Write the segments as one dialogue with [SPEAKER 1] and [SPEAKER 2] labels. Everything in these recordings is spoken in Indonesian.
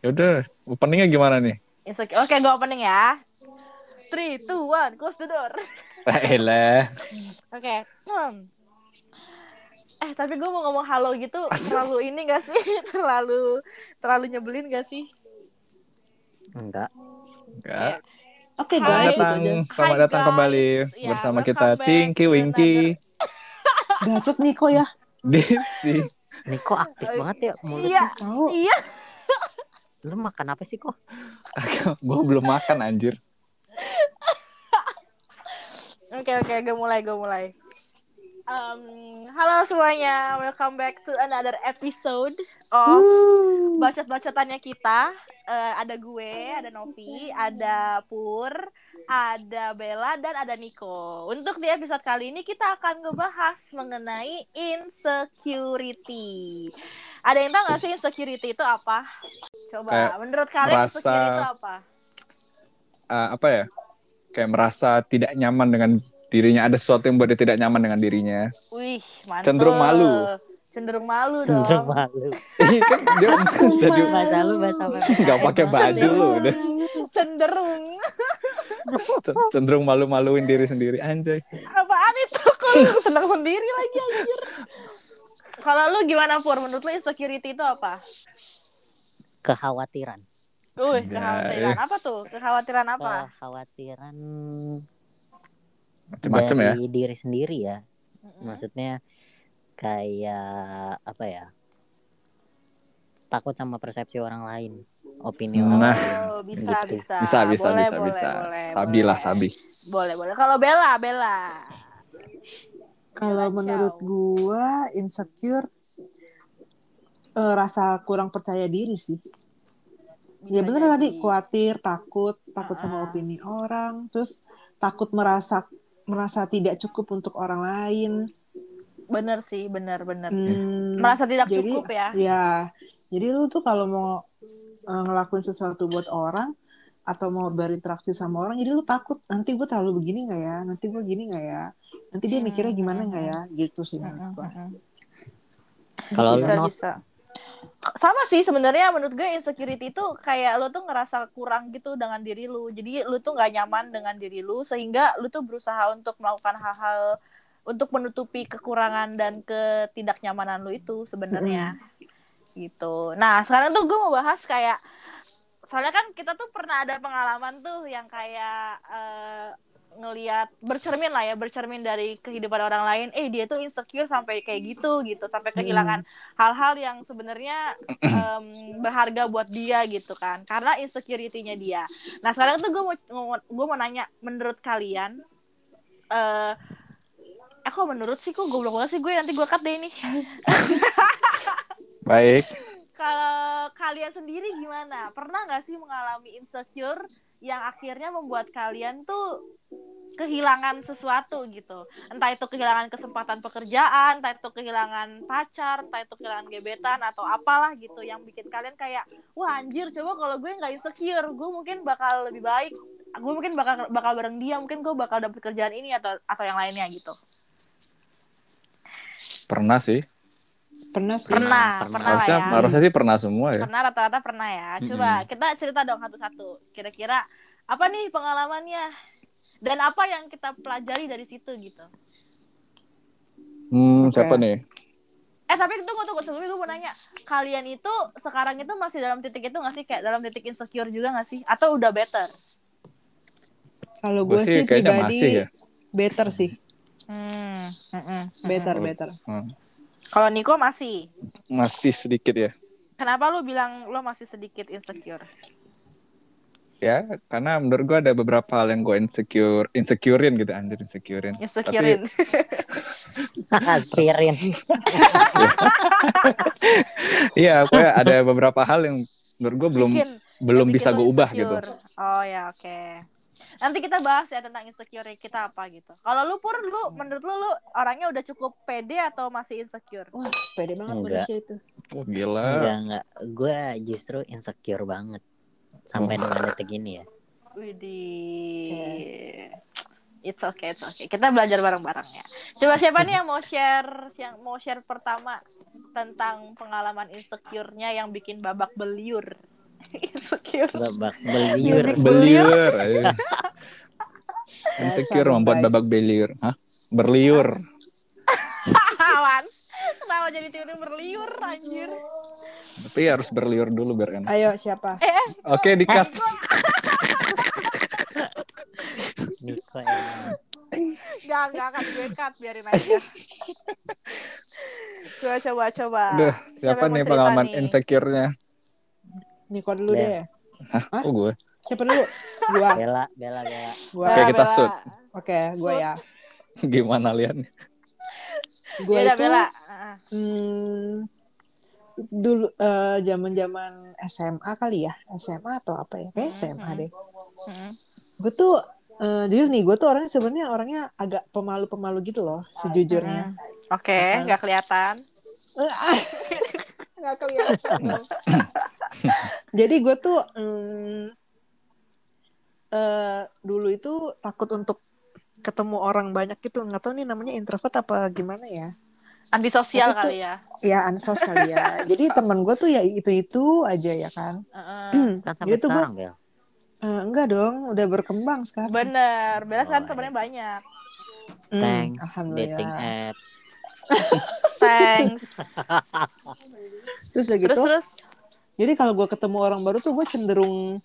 [SPEAKER 1] Yaudah, openingnya gimana nih?
[SPEAKER 2] It's okay. Oke, gue opening ya. Three, two, one, close the door.
[SPEAKER 1] Elah.
[SPEAKER 2] Oke. Hmm. Eh, tapi gue mau ngomong halo gitu terlalu ini gak sih? Terlalu terlalu nyebelin gak sih?
[SPEAKER 3] Enggak.
[SPEAKER 1] Enggak.
[SPEAKER 4] Oke
[SPEAKER 1] Selamat datang,
[SPEAKER 2] Hai.
[SPEAKER 4] guys, gitu aja.
[SPEAKER 1] selamat
[SPEAKER 2] Hai,
[SPEAKER 1] datang
[SPEAKER 2] guys.
[SPEAKER 1] kembali
[SPEAKER 2] Ya,
[SPEAKER 1] bersama
[SPEAKER 2] welcome
[SPEAKER 1] kita
[SPEAKER 2] back
[SPEAKER 1] Tinky
[SPEAKER 2] to
[SPEAKER 1] Winky
[SPEAKER 4] Bacot nih kok ya.
[SPEAKER 1] Dipsy.
[SPEAKER 3] Niko aktif banget ya mulut.
[SPEAKER 2] Iya,
[SPEAKER 4] Tahu.
[SPEAKER 2] iya.
[SPEAKER 3] Lu makan apa sih kok?
[SPEAKER 1] Gue belum makan anjir.
[SPEAKER 2] Oke, oke, gue mulai, gue mulai. Um, halo semuanya, welcome back to another episode of bacot-bacotannya kita. Eh, ada gue, ada Nopi, ada Pur, ada Bella, dan ada Niko. Untuk di episode kali ini kita akan ngebahas mengenai insecurity. Ada yang tahu nggak sih insecurity itu apa? Coba,
[SPEAKER 1] Kayak
[SPEAKER 2] menurut kalian
[SPEAKER 1] merasa-
[SPEAKER 2] insecurity itu apa?
[SPEAKER 1] Eh, apa ya? Kayak merasa tidak nyaman dengan dirinya. Ada sesuatu yang buat dia tidak nyaman dengan dirinya.
[SPEAKER 2] Wih, mantap.
[SPEAKER 1] Cenderung malu.
[SPEAKER 2] Cenderung malu dong.
[SPEAKER 3] Lu malu.
[SPEAKER 1] Ih, kan dia jadi
[SPEAKER 3] Bahasa lu bahasa apa?
[SPEAKER 1] nggak pakai baju lu udah
[SPEAKER 2] Cenderung.
[SPEAKER 1] cenderung malu-maluin diri sendiri anjay.
[SPEAKER 2] Apaan itu? Kok lu seneng sendiri lagi anjir. Kalau lu gimana Pur? Menurut lu insecurity itu apa?
[SPEAKER 3] Kekhawatiran.
[SPEAKER 2] Wih,
[SPEAKER 1] Anjay.
[SPEAKER 2] kekhawatiran apa tuh? Kekhawatiran apa?
[SPEAKER 3] Kekhawatiran
[SPEAKER 1] Macam-macam ya.
[SPEAKER 3] dari diri sendiri ya.
[SPEAKER 2] Mm-mm.
[SPEAKER 3] Maksudnya kayak apa ya? Takut sama persepsi orang lain, opini orang
[SPEAKER 1] Nah.
[SPEAKER 3] lain.
[SPEAKER 2] Oh, bisa,
[SPEAKER 3] gitu.
[SPEAKER 2] bisa.
[SPEAKER 1] Bisa bisa
[SPEAKER 2] Boleh,
[SPEAKER 1] bisa
[SPEAKER 2] boleh,
[SPEAKER 1] bisa.
[SPEAKER 2] boleh,
[SPEAKER 1] Sabi lah
[SPEAKER 2] boleh.
[SPEAKER 1] sabi.
[SPEAKER 2] Boleh, boleh. Kalau Bella, Bella.
[SPEAKER 4] Kalau
[SPEAKER 2] Kacau.
[SPEAKER 4] menurut gua insecure eh, rasa kurang percaya diri sih. Ya
[SPEAKER 2] Bisa
[SPEAKER 4] bener
[SPEAKER 2] jadi.
[SPEAKER 4] tadi khawatir, takut, takut
[SPEAKER 2] Ah.
[SPEAKER 4] sama opini orang, terus takut merasa merasa tidak cukup untuk orang lain.
[SPEAKER 2] Bener sih, bener, bener.
[SPEAKER 4] Hmm,
[SPEAKER 2] Merasa tidak
[SPEAKER 4] jadi-
[SPEAKER 2] cukup ya.
[SPEAKER 4] Ya, jadi lu tuh kalau mau eh, ngelakuin sesuatu buat orang atau mau berinteraksi sama orang, jadi lu takut nanti gue terlalu begini nggak ya, nanti gue gini nggak ya, nanti dia mikirnya gimana nggak ya, gitu sih menurut gua.
[SPEAKER 2] Mm-mm.
[SPEAKER 3] Kalau lu
[SPEAKER 2] bisa
[SPEAKER 3] Nov,
[SPEAKER 2] Gitu, bisa sama sih sebenarnya menurut gue insecurity itu kayak lu tuh ngerasa kurang gitu dengan diri lu jadi lu tuh nggak nyaman dengan diri lu sehingga lu tuh berusaha untuk melakukan hal-hal untuk menutupi kekurangan dan ketidaknyamanan lu itu sebenarnya gitu nah sekarang tuh gue mau bahas kayak soalnya kan kita tuh pernah ada pengalaman tuh yang kayak eh, ngelihat bercermin lah ya bercermin dari kehidupan orang lain eh dia tuh insecure sampai kayak gitu gitu sampai kehilangan hal-hal yang sebenarnya em, berharga buat dia gitu kan karena insecurity-nya dia nah sekarang tuh gue mau gue mau nanya menurut kalian eh aku menurut sih kok goblok banget sih gue nanti gue cut deh ini
[SPEAKER 1] Baik.
[SPEAKER 2] kalau kalian sendiri gimana? Pernah nggak sih mengalami insecure yang akhirnya membuat kalian tuh kehilangan sesuatu gitu? Entah itu kehilangan kesempatan pekerjaan, entah itu kehilangan pacar, entah itu kehilangan gebetan atau apalah gitu yang bikin kalian kayak wah anjir coba kalau gue nggak insecure, gue mungkin bakal lebih baik. Gue mungkin bakal bakal bareng dia, mungkin gue bakal dapet kerjaan ini atau atau yang lainnya gitu.
[SPEAKER 1] Pernah sih.
[SPEAKER 4] Pernah sih.
[SPEAKER 2] Pernah,
[SPEAKER 3] pernah.
[SPEAKER 2] pernah, lah
[SPEAKER 1] Harusnya
[SPEAKER 2] ya.
[SPEAKER 1] harusnya sih pernah semua ya.
[SPEAKER 2] Karena rata-rata pernah ya. Coba
[SPEAKER 1] Mm-mm.
[SPEAKER 2] kita cerita dong satu-satu. Kira-kira apa nih pengalamannya? Dan apa yang kita pelajari dari situ gitu.
[SPEAKER 1] Hmm,
[SPEAKER 4] Oke.
[SPEAKER 1] siapa nih?
[SPEAKER 2] Eh tapi tunggu tunggu sebelumnya gue mau nanya. Kalian itu sekarang itu masih dalam titik itu gak sih? Kayak dalam titik insecure juga gak sih? Atau udah better?
[SPEAKER 4] Kalau
[SPEAKER 1] Gue
[SPEAKER 4] gue
[SPEAKER 1] sih
[SPEAKER 4] sih
[SPEAKER 1] kayaknya
[SPEAKER 4] pribadi
[SPEAKER 1] masih ya.
[SPEAKER 4] better sih,
[SPEAKER 2] Hmm.
[SPEAKER 4] better better.
[SPEAKER 1] Hmm.
[SPEAKER 2] Kalau Niko masih.
[SPEAKER 1] Masih sedikit ya.
[SPEAKER 2] Kenapa lu bilang lo masih sedikit insecure?
[SPEAKER 1] ya karena menurut gue ada beberapa hal yang gue insecure insecurein gitu anjir insecurein
[SPEAKER 2] Insecurein.
[SPEAKER 3] aspirin.
[SPEAKER 1] iya gue ada beberapa hal yang menurut gue belum
[SPEAKER 2] Bikin-
[SPEAKER 1] belum
[SPEAKER 2] bikin
[SPEAKER 1] bisa
[SPEAKER 2] lo
[SPEAKER 1] gue ubah gitu
[SPEAKER 2] insecure. Oh ya oke. Nanti kita bahas ya tentang insecure kita apa gitu. Kalau lu pur lu menurut lu lu orangnya udah cukup pede atau masih insecure?
[SPEAKER 4] Wah, pede banget
[SPEAKER 3] Enggak.
[SPEAKER 4] manusia itu.
[SPEAKER 1] oh, gila
[SPEAKER 2] Iya.
[SPEAKER 3] Enggak, enggak. Gue justru insecure banget sampai dengan detik ini ya.
[SPEAKER 2] Widih. Iya. It's okay, it's okay. Kita belajar bareng-bareng ya. Coba siapa nih yang mau share yang mau share pertama tentang pengalaman insecure-nya yang bikin babak beliur? insecure
[SPEAKER 3] babak beliur
[SPEAKER 2] Jadi-
[SPEAKER 1] Beliur.
[SPEAKER 2] Beliur.
[SPEAKER 1] ayo. eh. Insecure membuat babak beliur. Hah? Berliur.
[SPEAKER 2] Awan. Kenapa jadi teori berliur anjir?
[SPEAKER 1] Tapi harus berliur dulu biar enak.
[SPEAKER 4] Ayo siapa?
[SPEAKER 1] Oke,
[SPEAKER 2] Eh,
[SPEAKER 1] dikat.
[SPEAKER 3] Niko emang.
[SPEAKER 2] Gak, gak akan gue cut, biarin aja. coba, coba, coba.
[SPEAKER 1] Duh, siapa nih
[SPEAKER 2] yang mau cerita
[SPEAKER 1] pengalaman
[SPEAKER 2] nih?
[SPEAKER 1] insecure-nya?
[SPEAKER 4] Niko dulu
[SPEAKER 1] Iya.
[SPEAKER 3] Ya.
[SPEAKER 4] deh.
[SPEAKER 1] Hah? Oh, gue.
[SPEAKER 4] Siapa dulu? Gua,
[SPEAKER 3] Bella Bella Bella
[SPEAKER 4] gua.
[SPEAKER 1] Iya. Oke, kita
[SPEAKER 2] Bella.
[SPEAKER 1] shoot.
[SPEAKER 4] Oke, gua ya.
[SPEAKER 1] Gimana liatnya?
[SPEAKER 4] Gua
[SPEAKER 2] Yaudah,
[SPEAKER 4] itu
[SPEAKER 2] Bella. Ah,
[SPEAKER 4] Hmm, dulu eh, zaman-zaman SMA kali ya SMA atau apa ya kayak SMA deh
[SPEAKER 2] ah. Mm.
[SPEAKER 4] gue tuh eh, jujur nih gue tuh orangnya sebenarnya orangnya agak pemalu-pemalu gitu loh sejujurnya
[SPEAKER 2] Mm. Oke, nggak kelihatan.
[SPEAKER 4] nggak kelihatan dong. jadi gue tuh mm, eh, dulu itu takut untuk ketemu orang banyak gitu nggak tahu nih namanya introvert apa gimana ya
[SPEAKER 2] Antisosial
[SPEAKER 4] Tapi tuh-
[SPEAKER 2] kali ya.
[SPEAKER 4] ya ansos kali ya jadi teman gue tuh ya itu itu aja ya kan
[SPEAKER 2] Heeh.
[SPEAKER 3] kan sampai
[SPEAKER 4] Dia tuh
[SPEAKER 3] sekarang Bel
[SPEAKER 4] Eh, enggak dong udah berkembang sekarang
[SPEAKER 2] Bener, Bella sekarang
[SPEAKER 3] Oh,
[SPEAKER 2] temennya
[SPEAKER 1] iya.
[SPEAKER 2] banyak.
[SPEAKER 4] Hmm,
[SPEAKER 3] thanks dating
[SPEAKER 4] alhamdulillah
[SPEAKER 3] apps
[SPEAKER 2] Thanks.
[SPEAKER 4] terus udah
[SPEAKER 2] Terus
[SPEAKER 4] gitu
[SPEAKER 2] terus.
[SPEAKER 4] jadi kalau gue ketemu orang baru tuh gue cenderung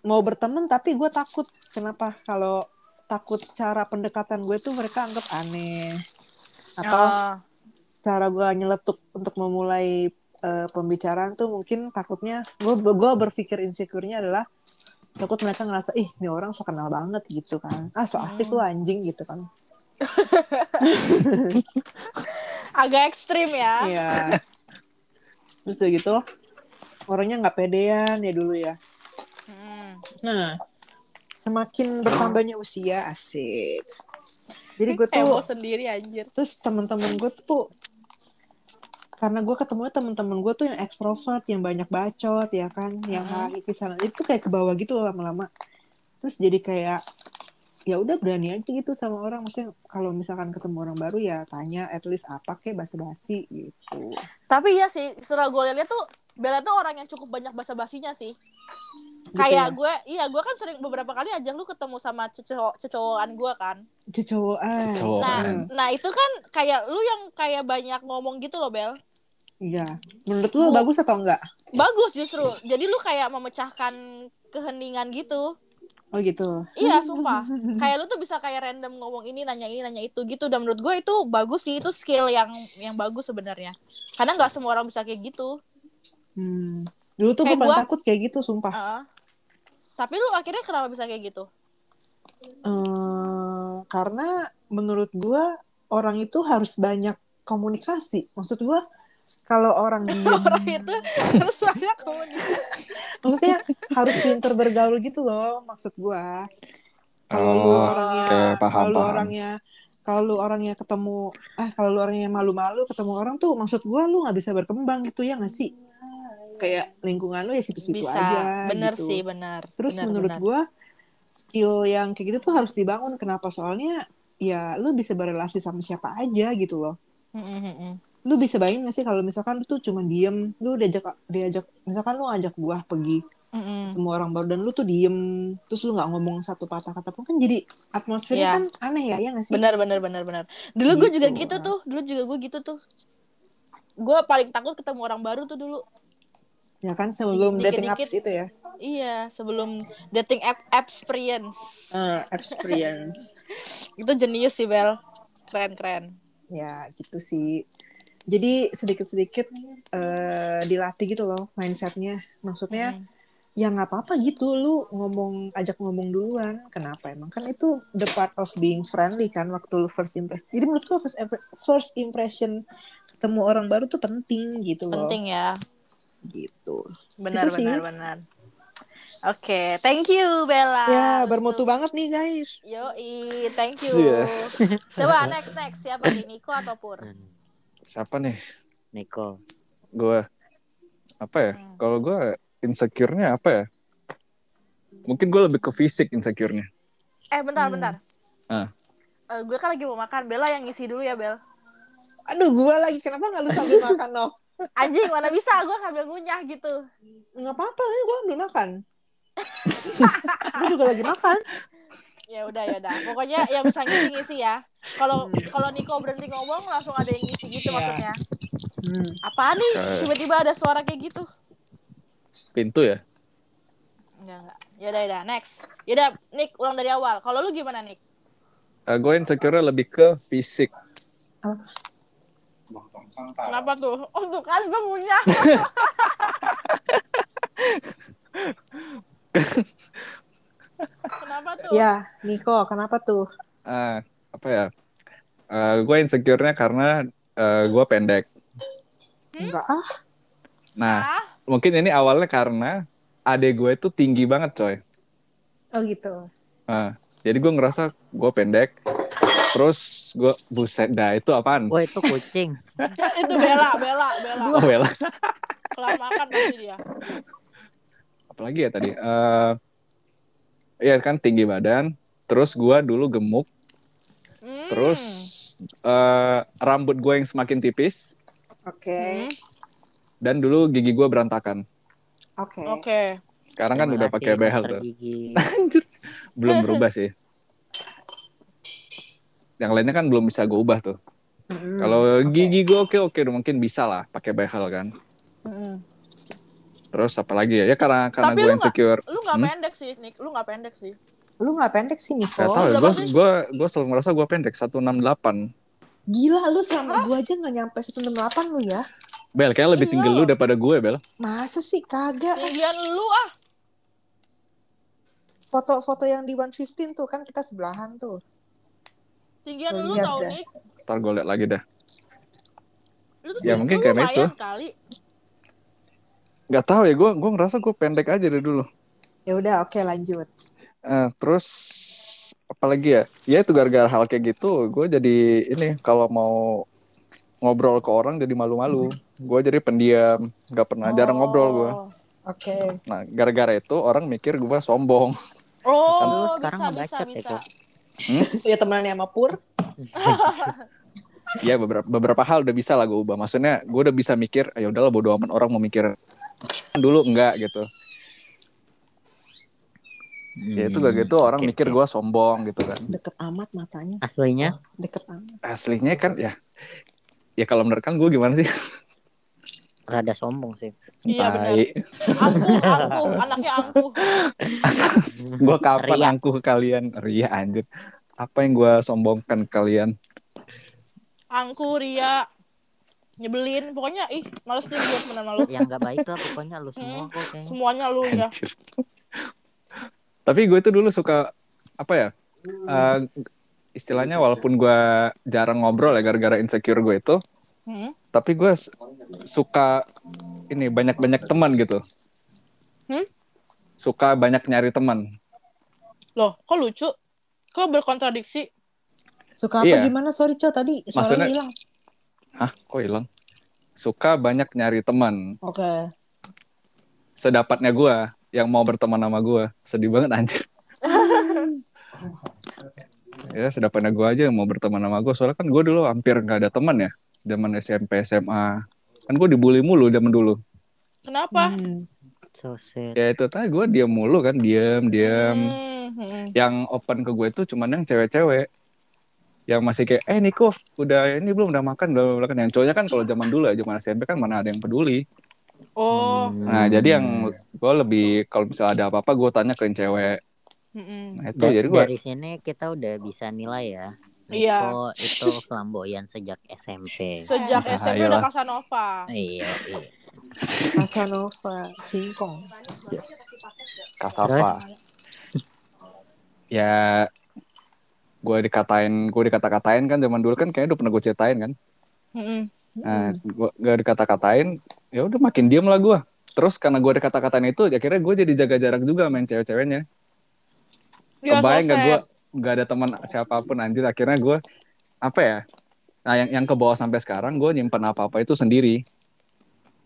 [SPEAKER 4] mau berteman tapi gue takut kenapa kalau takut cara pendekatan gue tuh mereka anggap aneh atau
[SPEAKER 2] Oh,
[SPEAKER 4] cara gue nyeletuk untuk memulai eh, pembicaraan tuh mungkin takutnya gue gue berpikir insecure-nya adalah takut mereka ngerasa ih ini orang so kenal banget gitu kan ah so asik lu
[SPEAKER 2] Oh.
[SPEAKER 4] anjing gitu kan
[SPEAKER 2] agak ekstrim ya.
[SPEAKER 4] Iya. Terus udah gitu orangnya nggak pedean ya dulu ya.
[SPEAKER 2] Mm.
[SPEAKER 4] Nah, semakin bertambahnya usia asik. Jadi gue
[SPEAKER 2] Heboh
[SPEAKER 4] tuh
[SPEAKER 2] sendiri anjir.
[SPEAKER 4] terus teman-teman gue tuh karena gue ketemu teman-teman gue tuh yang ekstrovert, yang banyak bacot ya kan, yang
[SPEAKER 2] Hmm.
[SPEAKER 4] haki sana itu kayak ke bawah gitu loh lama-lama. Terus jadi kayak ya udah berani aja gitu sama orang maksudnya kalau misalkan ketemu orang baru ya tanya at least apa kayak basa-basi gitu.
[SPEAKER 2] Tapi ya sih, setelah gue lihat tuh Bella tuh orang yang cukup banyak basa-basinya sih.
[SPEAKER 4] Gitu ya.
[SPEAKER 2] Kayak gue, iya gue kan sering beberapa kali ajak lu ketemu sama cecowok cecowokan gue kan.
[SPEAKER 4] cecowokan
[SPEAKER 2] Nah,
[SPEAKER 1] Cecowokan.
[SPEAKER 4] Hmm.
[SPEAKER 2] nah itu kan kayak lu yang kayak banyak ngomong gitu loh Bel.
[SPEAKER 4] iya menurut lu
[SPEAKER 2] Bu.
[SPEAKER 4] bagus atau enggak
[SPEAKER 2] Bagus justru. Jadi lu kayak memecahkan keheningan gitu.
[SPEAKER 4] oh gitu
[SPEAKER 2] Iya, sumpah. Kayak lu tuh bisa kayak random ngomong ini, nanya ini, nanya itu gitu. Dan menurut gue itu bagus sih. Itu skill yang yang bagus sebenarnya. Karena nggak semua orang bisa kayak gitu.
[SPEAKER 4] hmm. dulu tuh gue
[SPEAKER 2] Kayak
[SPEAKER 4] paling
[SPEAKER 2] gua-
[SPEAKER 4] takut kayak gitu sumpah
[SPEAKER 2] Heeh. Tapi lu akhirnya kenapa bisa kayak gitu?
[SPEAKER 4] Eh, karena menurut gue orang itu harus banyak komunikasi maksud gue kalau orang diem
[SPEAKER 2] Orang itu terus banyak komunikasi.
[SPEAKER 4] maksudnya harus pinter bergaul gitu loh maksud gue kalau lu
[SPEAKER 1] Oh,
[SPEAKER 4] orangnya
[SPEAKER 1] oke, paham,
[SPEAKER 4] kalau lu
[SPEAKER 1] paham.
[SPEAKER 4] orangnya kalau lu orangnya ketemu ah kalau lu orangnya malu-malu ketemu orang tuh maksud gua lu nggak bisa berkembang gitu ya nggak sih kayak lingkungan lu ya situ-situ
[SPEAKER 2] Bisa.
[SPEAKER 4] aja
[SPEAKER 2] bener
[SPEAKER 4] gitu.
[SPEAKER 2] sih, bener.
[SPEAKER 4] terus
[SPEAKER 2] Bener,
[SPEAKER 4] menurut
[SPEAKER 2] bener.
[SPEAKER 4] gua skill yang kayak gitu tuh harus dibangun kenapa soalnya ya lu bisa berelasi sama siapa aja gitu loh
[SPEAKER 2] Mm, mm, mm.
[SPEAKER 4] lu bisa bayangin gak sih kalau misalkan lu tuh cuma diem lu diajak diajak misalkan lu ajak gua pergi
[SPEAKER 2] Mm, mm.
[SPEAKER 4] ketemu orang baru dan lu tuh diem terus lu nggak ngomong satu patah kata pun kan jadi atmosfernya
[SPEAKER 2] Iya.
[SPEAKER 4] kan aneh ya ya nggak sih
[SPEAKER 2] Benar benar benar benar. Dulu gue juga
[SPEAKER 4] Gitu.
[SPEAKER 2] gitu tuh, dulu juga gue gitu tuh. Gue paling takut ketemu orang baru tuh dulu.
[SPEAKER 4] ya kan sebelum
[SPEAKER 2] Dikit-dikit.
[SPEAKER 4] dating apps itu ya
[SPEAKER 2] Iya, sebelum dating app experience.
[SPEAKER 4] experience
[SPEAKER 2] Itu jenius sih Bel. Keren keren.
[SPEAKER 4] ya gitu sih jadi sedikit-sedikit eh, dilatih gitu loh mindsetnya maksudnya
[SPEAKER 2] Mm.
[SPEAKER 4] ya nggak apa-apa gitu lu ngomong ajak ngomong duluan kenapa emang kan itu the part of being friendly kan waktu lu first impression jadi menurut gua first, impre- first impression ketemu orang baru tuh penting gitu loh
[SPEAKER 2] Penting ya.
[SPEAKER 4] gitu
[SPEAKER 2] Benar
[SPEAKER 4] Itu sih.
[SPEAKER 2] benar benar. Oke, thank you Bella.
[SPEAKER 4] Ya,
[SPEAKER 2] Untuk-
[SPEAKER 4] bermutu banget nih guys.
[SPEAKER 2] Yoi, thank you.
[SPEAKER 1] Iya.
[SPEAKER 2] Coba next next siapa nih Niko atau Pur?
[SPEAKER 3] Hmm,
[SPEAKER 1] Siapa nih?
[SPEAKER 3] Niko
[SPEAKER 1] Hmm. Gue. Apa ya?
[SPEAKER 2] Hmm.
[SPEAKER 1] Kalau gue insecure-nya apa ya? Mungkin gue lebih ke fisik insecure-nya.
[SPEAKER 2] Eh bentar
[SPEAKER 4] Hmm.
[SPEAKER 2] bentar.
[SPEAKER 1] Ah.
[SPEAKER 2] Eh, gue kan lagi mau makan, Bella yang ngisi dulu ya Bel.
[SPEAKER 4] Aduh, gua lagi kenapa nggak lu sambil makan no?
[SPEAKER 2] anjing mana bisa gue ngambil ngunyah gitu
[SPEAKER 4] nggak apa-apa ya gue ambil makan gue juga lagi makan
[SPEAKER 2] ya udah ya udah pokoknya yang bisa ngisi ngisi ya kalau
[SPEAKER 4] Hmm.
[SPEAKER 2] kalau Niko berhenti ngomong langsung ada yang ngisi gitu
[SPEAKER 4] Iya.
[SPEAKER 2] maksudnya
[SPEAKER 4] hmm.
[SPEAKER 2] apa nih
[SPEAKER 1] Oke.
[SPEAKER 2] tiba-tiba ada suara kayak gitu
[SPEAKER 1] Pintu ya?
[SPEAKER 2] enggak enggak ya udah ya udah next ya udah Nick ulang dari awal kalau lu gimana Nick
[SPEAKER 1] Eh, gue insecure lebih ke fisik.
[SPEAKER 2] kenapa tuh oh tuh kan gue ngunyah kenapa tuh
[SPEAKER 4] ya Niko kenapa tuh
[SPEAKER 1] Eh, apa ya? Eh, gue insecure-nya karena eh, gue pendek.
[SPEAKER 4] enggak ah
[SPEAKER 1] Nah,
[SPEAKER 2] Ah,
[SPEAKER 1] mungkin ini awalnya karena adek gue tuh tinggi banget, coy.
[SPEAKER 4] oh gitu
[SPEAKER 1] Nah, jadi gue ngerasa gue pendek. Terus gue buset dah itu apaan?
[SPEAKER 3] Wah itu kucing.
[SPEAKER 2] itu Bella Bella Bella
[SPEAKER 1] Oh, well.
[SPEAKER 2] kelamaan pasti dia
[SPEAKER 1] apalagi ya tadi Eh ya kan tinggi badan terus gua dulu gemuk
[SPEAKER 2] Hmm.
[SPEAKER 1] terus eh rambut gue yang semakin tipis
[SPEAKER 4] oke
[SPEAKER 2] Hmm.
[SPEAKER 1] dan dulu gigi gua berantakan
[SPEAKER 4] oke
[SPEAKER 2] oke
[SPEAKER 1] sekarang kan
[SPEAKER 3] Terima
[SPEAKER 1] udah
[SPEAKER 3] kasih,
[SPEAKER 1] pakai
[SPEAKER 2] ya,
[SPEAKER 1] behel
[SPEAKER 3] dokter
[SPEAKER 1] tuh
[SPEAKER 3] gigi.
[SPEAKER 1] belum berubah sih yang lainnya kan belum bisa gue ubah tuh
[SPEAKER 4] Mm-mm.
[SPEAKER 2] Hmm,
[SPEAKER 1] kalau
[SPEAKER 4] Oke.
[SPEAKER 1] gigi gua oke oke mungkin bisa lah pakai behel kan
[SPEAKER 2] Hmm.
[SPEAKER 4] Mm-mm.
[SPEAKER 1] terus apalagi ya ya karena karena gue
[SPEAKER 2] Tapi lu nggak-
[SPEAKER 1] insecure
[SPEAKER 2] lu nggak
[SPEAKER 1] Hmm?
[SPEAKER 2] pendek sih Nick lu nggak pendek sih
[SPEAKER 4] lu nggak pendek sih Niko
[SPEAKER 1] Gak tau ya,
[SPEAKER 2] udah
[SPEAKER 1] gue
[SPEAKER 2] bagus.
[SPEAKER 1] gua, gua selalu merasa gue pendek 168
[SPEAKER 4] gila lu sama gue aja nggak nyampe 168 lu ya
[SPEAKER 1] Bel, kayaknya lebih tinggi
[SPEAKER 2] Iya.
[SPEAKER 1] lu daripada gue, Bel
[SPEAKER 4] masa sih kagak
[SPEAKER 2] tinggian lu ah
[SPEAKER 4] foto-foto yang di 115 tuh kan kita sebelahan tuh
[SPEAKER 2] tinggian
[SPEAKER 4] Lu
[SPEAKER 2] lu
[SPEAKER 4] lihat
[SPEAKER 2] tau
[SPEAKER 4] dah.
[SPEAKER 2] Nick
[SPEAKER 1] Ntar gue liat lagi dah
[SPEAKER 2] lu
[SPEAKER 1] Ya,
[SPEAKER 2] tuh tinggi
[SPEAKER 1] mungkin
[SPEAKER 2] lu
[SPEAKER 1] karena
[SPEAKER 2] lumayan
[SPEAKER 1] itu.
[SPEAKER 2] kali
[SPEAKER 1] nggak tahu ya gue gue ngerasa gue pendek aja dari dulu
[SPEAKER 4] ya udah oke lanjut
[SPEAKER 1] Eh, terus apalagi ya ya itu gara-gara hal kayak gitu gue jadi ini kalau mau ngobrol ke orang jadi malu-malu gue jadi pendiam nggak pernah Nah, jarang ngobrol gue
[SPEAKER 2] Oh.
[SPEAKER 4] oke
[SPEAKER 1] nah gara-gara itu orang mikir gue sombong
[SPEAKER 2] oh
[SPEAKER 3] Lu
[SPEAKER 2] bisa
[SPEAKER 3] sekarang nggak
[SPEAKER 2] bisa
[SPEAKER 3] bacot ya,
[SPEAKER 2] bisa
[SPEAKER 3] Kok?
[SPEAKER 4] ya temenannya sama Pur
[SPEAKER 1] ya beberapa beberapa hal udah bisa lah gue ubah maksudnya gue udah bisa mikir ya udahlah bodo amat orang mau mikir dulu enggak gitu ya itu gak gitu orang
[SPEAKER 2] Hmm,
[SPEAKER 3] Oke,
[SPEAKER 1] mikir
[SPEAKER 3] oke.
[SPEAKER 1] gue sombong gitu kan
[SPEAKER 4] deket amat matanya
[SPEAKER 3] Hmm. Aslinya
[SPEAKER 4] deket amat
[SPEAKER 1] aslinya kan ya ya kalau menurut kan gue gimana sih
[SPEAKER 3] rada sombong sih.
[SPEAKER 2] iya benar
[SPEAKER 1] Tai.
[SPEAKER 2] angkuh angkuh anaknya angkuh
[SPEAKER 1] gue kapan
[SPEAKER 3] Ria.
[SPEAKER 1] angkuh ke kalian Ria anjir apa yang gue sombongkan ke kalian
[SPEAKER 2] angkuh Ria nyebelin pokoknya ih males nih gue temenan sama lu
[SPEAKER 3] Yang Ya, nggak baik lah pokoknya lu semua kok kayaknya.
[SPEAKER 2] semuanya lu ya
[SPEAKER 1] anjir tapi gue itu dulu suka apa ya eh, istilahnya walaupun gue jarang ngobrol ya gara-gara insecure gue itu
[SPEAKER 2] hmm?
[SPEAKER 1] tapi gue s- suka ini banyak-banyak teman gitu
[SPEAKER 2] Hmm?
[SPEAKER 1] suka banyak nyari teman
[SPEAKER 2] loh kok lucu kok berkontradiksi
[SPEAKER 4] suka apa
[SPEAKER 1] Iya.
[SPEAKER 4] gimana sorry cow tadi suaranya
[SPEAKER 1] Maksudnya-
[SPEAKER 4] hilang
[SPEAKER 1] hah kok hilang suka banyak nyari teman
[SPEAKER 4] oke
[SPEAKER 1] sedapatnya gue yang mau berteman sama gue sedih banget anjir ya sedapatnya gue aja yang mau berteman sama gue soalnya kan gue dulu hampir nggak ada teman ya zaman SMP SMA kan gue dibully mulu zaman dulu
[SPEAKER 2] kenapa
[SPEAKER 4] Hmm.
[SPEAKER 3] So sad.
[SPEAKER 1] ya itu tadi gue diam mulu kan diam diam
[SPEAKER 2] Hmm, hmm.
[SPEAKER 1] yang open ke gue itu cuman yang cewek-cewek yang masih kayak eh Niko udah ini belum udah makan belum makan yang cowoknya kan kalau zaman dulu ya zaman SMP kan mana ada yang peduli
[SPEAKER 2] oh
[SPEAKER 1] nah jadi yang gue lebih kalau misalnya ada apa-apa gue tanya ke yang cewek
[SPEAKER 2] hmm, hmm.
[SPEAKER 1] nah itu
[SPEAKER 3] Da-
[SPEAKER 1] jadi gue
[SPEAKER 3] dari sini kita udah bisa nilai ya.
[SPEAKER 2] Iya.
[SPEAKER 3] Niko itu flamboyan sejak SMP.
[SPEAKER 2] sejak
[SPEAKER 1] Ah,
[SPEAKER 2] SMP udah
[SPEAKER 1] ayolah.
[SPEAKER 2] Casanova
[SPEAKER 3] Iya, iya.
[SPEAKER 4] Casanova singkong
[SPEAKER 1] Kasapa. Ya gue dikatain, gue dikata-katain kan zaman dulu kan kayaknya udah pernah gue ceritain kan.
[SPEAKER 2] Hmm,
[SPEAKER 1] Nah, gue gak dikata-katain, ya udah makin diem lah gue. Terus karena gue dikata-katain itu, akhirnya gue jadi jaga jarak juga main cewek-ceweknya.
[SPEAKER 2] hmm. Iya,
[SPEAKER 1] Kebayang gak
[SPEAKER 2] Noset.
[SPEAKER 1] gue gak ada teman siapapun anjir. Akhirnya gue apa ya? Nah yang yang ke bawah sampai sekarang gue nyimpan apa-apa itu sendiri,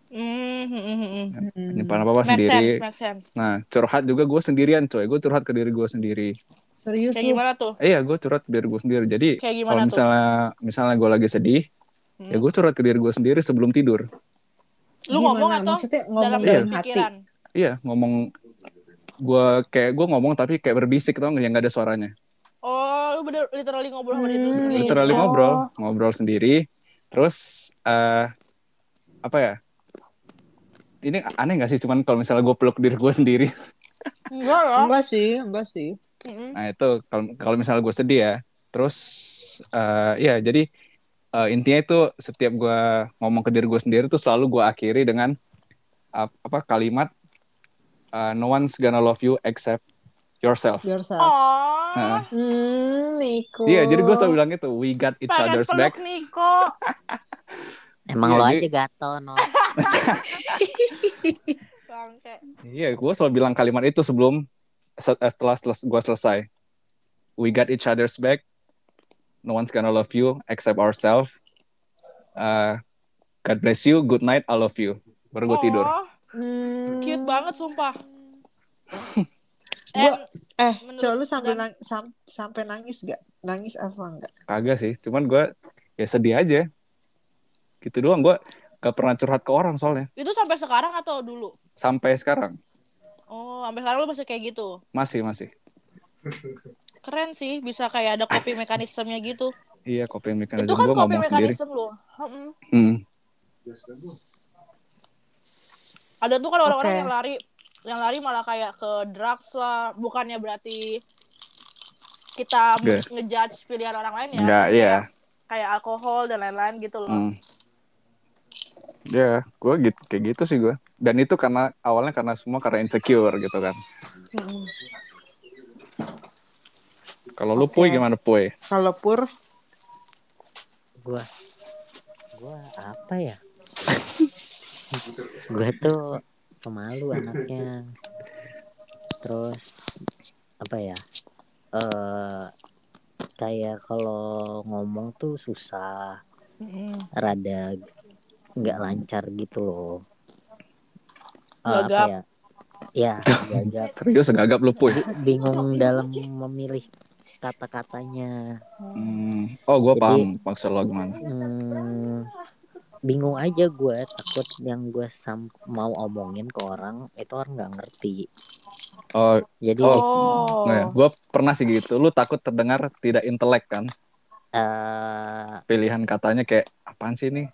[SPEAKER 2] Hmm, hmm, hmm, hmm.
[SPEAKER 4] Hmm.
[SPEAKER 1] nyimpan apa-apa
[SPEAKER 2] Make sense,
[SPEAKER 1] sendiri.
[SPEAKER 2] make sense.
[SPEAKER 1] Nah curhat juga gue sendirian coy, gue curhat ke diri gue sendiri.
[SPEAKER 4] serius
[SPEAKER 2] Kayak
[SPEAKER 4] lu?
[SPEAKER 2] gimana tuh?
[SPEAKER 1] Eh, iya gue curhat biar gue sendiri. Jadi
[SPEAKER 2] Kayak gimana
[SPEAKER 1] kalau
[SPEAKER 2] tuh?
[SPEAKER 1] misalnya misalnya gue lagi sedih
[SPEAKER 2] Hmm.
[SPEAKER 1] ya gue curhat ke diri gue sendiri sebelum tidur
[SPEAKER 2] Lu ngomong atau
[SPEAKER 4] maksudnya
[SPEAKER 1] Iya.
[SPEAKER 2] dalam
[SPEAKER 4] ngomong dalam
[SPEAKER 2] dalam
[SPEAKER 4] hati
[SPEAKER 2] pikiran.
[SPEAKER 1] Iya, ngomong gua kayak gua ngomong tapi kayak berbisik tau nggak yang nggak ada suaranya.
[SPEAKER 2] Oh, lu bener literally ngobrol sama diri lu
[SPEAKER 4] Hmm,
[SPEAKER 2] sendiri.
[SPEAKER 1] Literally
[SPEAKER 4] Oh.
[SPEAKER 1] ngobrol, ngobrol sendiri. Terus eh apa ya? Ini aneh gak sih cuman kalau misalnya gue peluk diri gue sendiri.
[SPEAKER 2] Enggak loh.
[SPEAKER 4] enggak sih enggak sih Hmm.
[SPEAKER 2] Mm-mm.
[SPEAKER 1] Nah, itu kalau kalau misalnya gue sedih ya. Terus eh ya jadi eh, intinya itu setiap gue ngomong ke diri gue sendiri tuh selalu gue akhiri dengan ap- apa kalimat eh, no one's gonna love you except yourself.
[SPEAKER 4] yourself
[SPEAKER 2] Oh,
[SPEAKER 1] Nah,
[SPEAKER 4] hmm Niko
[SPEAKER 1] Iya, jadi gue selalu bilang itu we got each
[SPEAKER 2] pengen
[SPEAKER 1] other's back.
[SPEAKER 2] peluk Niko.
[SPEAKER 1] Iya,
[SPEAKER 3] Emang lo
[SPEAKER 1] jadi-
[SPEAKER 3] aja gatel no.
[SPEAKER 2] Bangke.
[SPEAKER 1] Iya, gue selalu bilang kalimat itu sebelum se- eh, setelah gue selesai. We got each other's back. No one's gonna love you except ourselves. Uh, God bless you. Good night. I love you. Baru gue tidur.
[SPEAKER 2] Oh,
[SPEAKER 4] Hmm.
[SPEAKER 2] cute banget sumpah.
[SPEAKER 4] Gua-
[SPEAKER 2] And-
[SPEAKER 4] eh
[SPEAKER 2] Menurut-
[SPEAKER 4] coba lu sampai
[SPEAKER 2] dan-
[SPEAKER 4] nang- sam- sampai nangis gak nangis apa enggak
[SPEAKER 1] Kagak sih. Cuman gue ya sedih aja. Gitu doang. Gue gak pernah curhat ke orang soalnya.
[SPEAKER 2] itu sampai sekarang atau dulu?
[SPEAKER 1] Sampai sekarang
[SPEAKER 2] Oh, sampai sekarang lu masih kayak gitu.
[SPEAKER 1] masih masih.
[SPEAKER 2] Keren sih, bisa kayak ada coping mekanismenya gitu.
[SPEAKER 1] Iya, kopi mekanisme
[SPEAKER 2] itu kan
[SPEAKER 1] gue
[SPEAKER 2] coping
[SPEAKER 1] ngomong sendiri.
[SPEAKER 2] mekanisme lu. Mm-mm.
[SPEAKER 1] Hmm.
[SPEAKER 2] Ada tuh kan orang-orang
[SPEAKER 4] Oke.
[SPEAKER 2] yang lari yang lari malah kayak ke drugs lah, bukannya berarti kita
[SPEAKER 1] Iya.
[SPEAKER 2] ngejudge pilihan orang lain ya.
[SPEAKER 1] Enggak, iya.
[SPEAKER 2] Kayak alkohol dan lain-lain gitu loh.
[SPEAKER 1] Hmm. Ya, gue gitu kayak gitu sih gue. Dan itu karena awalnya karena semua karena insecure gitu kan.
[SPEAKER 4] Hmm.
[SPEAKER 1] Kalau lu puy
[SPEAKER 4] Oke.
[SPEAKER 1] gimana puy?
[SPEAKER 4] kalau pur
[SPEAKER 3] Gua gua apa ya? gua tuh pemalu anaknya. Terus apa ya? Eh kayak kalau ngomong tuh susah,
[SPEAKER 1] Hmm.
[SPEAKER 2] Mm-mm.
[SPEAKER 3] rada nggak lancar gitu loh. Eh,
[SPEAKER 2] Gagap.
[SPEAKER 3] apa ya? Ya, gagap.
[SPEAKER 1] Serius gagap lu puy?
[SPEAKER 3] Bingung dalam memilih kata-katanya.
[SPEAKER 1] Hmm. Oh, gue
[SPEAKER 3] Jadi-
[SPEAKER 1] paham maksud lo gimana.
[SPEAKER 3] Hmm, bingung aja gue takut yang gue sam- mau omongin ke orang itu orang nggak ngerti
[SPEAKER 1] Oh,
[SPEAKER 3] jadi
[SPEAKER 1] Oh.
[SPEAKER 2] Oh.
[SPEAKER 1] gue pernah sih gitu. Lu takut terdengar tidak intelek kan?
[SPEAKER 3] eh
[SPEAKER 1] Pilihan katanya kayak apaan sih ini?